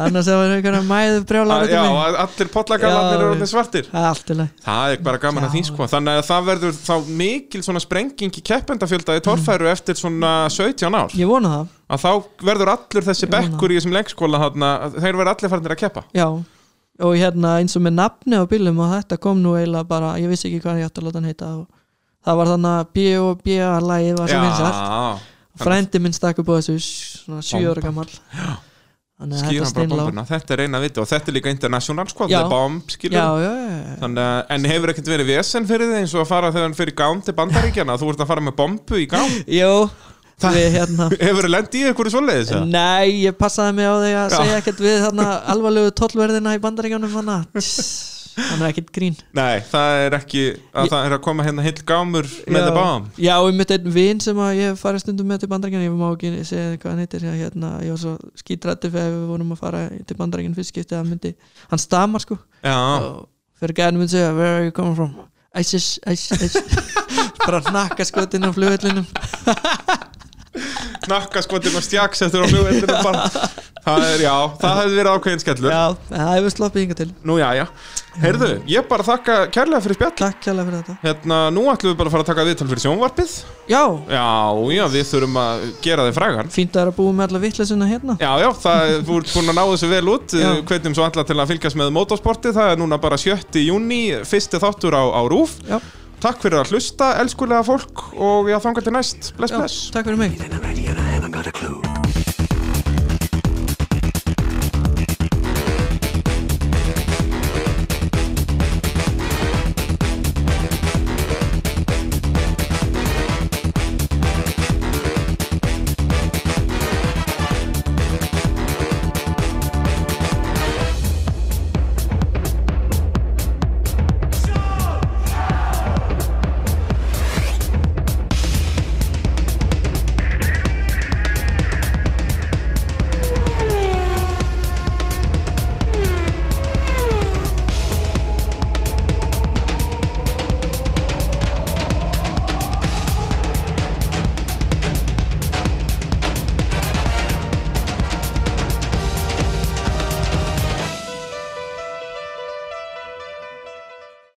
B: annars það var einhverja mæðu brjálar
A: að,
B: út
A: Ah,
B: í
A: já,
B: mig.
A: að allir pollagallarnir
B: Já,
A: eru
B: já.
A: allir svartir
B: það er allt í lagi
A: Það er bara gaman að því
B: Já.
A: sko Þannig að það verður þá mikil svona sprenging í keppendafjölda í torfæru eftir svona 17 ár
B: ég vona það,
A: að þá verður allur þessi
B: Ég vona
A: bekkur í þessum leikskóla þarna, að þeir verður allir farnir að keppa
B: já og hérna eins og með nafni á bílum og þetta kom nú eiginlega bara, ég vissi ekki hvað ég átti að láta hann heita og það var þannig að B og B að lagið var sem vinsalt frændi minn stakk upp á þessu svona sjö ára gammal þannig að þetta
A: skýra
B: er
A: bara
B: steinlá
A: bombuna, þetta er eina viti og þetta er líka international sko,
B: Já.
A: það er bomb
B: já,
A: skilur
B: já, já,
A: Þannig, að- en hefur ekkert verið vesen fyrir þið eins og að fara þegar hann fyrir gám til bandaríkjana þú ert að fara með bombu í gám
B: já jú, við hérna
A: hefur þið lendið í einhverju svoleiðis eða?
B: nei, ég passaði mig á því að
A: Já.
B: segja ekkert við þarna alvarlegu tollverðina í bandaríkjánum hana hann er ekkert grín
A: nei, það er ekki að
B: Ég-
A: það er að koma hérna heill gámur með
B: já,
A: það bám
B: já, og ég mitt einn vin sem að ég hef farið stundum með til bandaríkjánum ég má ekki segja hvað hann heitir ég, hérna, ég var svo skítrætti þegar við vorum að fara til bandaríkjánum fyrst skipti hann myndi, hann stamar sko
A: já,
B: og fyrir gæðinu minn segja where are you coming from ISIS, ISIS bara hnakka skotinn á flugvellinum
A: nakka skotin og stjaks eftir á flugveldinu bara. það er, já, það hefði verið ákveðin skellur
B: já, það hefur sloppið hinga til
A: nú já, já, heyrðu, ég bara þakka kærlega fyrir spjall
B: takk kjærlega fyrir þetta
A: Hérna, nú ætlum við bara að fara að taka viðtal fyrir sjónvarpið
B: já,
A: Já, já, við þurfum að gera þig frægan
B: fínt að það er að búa með alla vittleysuna hérna
A: Já, já, það, þú ert búin að ná þessu vel út
B: Já.
A: Hvernig svo alla til að fylgjast með motorsporti Það er núna bara 7. júni, fyrsti þáttur á, á RÚF
B: já,
A: Takk fyrir að hlusta, elskulega fólk Og já, þangar til næst, bless,
B: já
A: bless
B: takk fyrir mig
C: Right here, I haven't got a clue.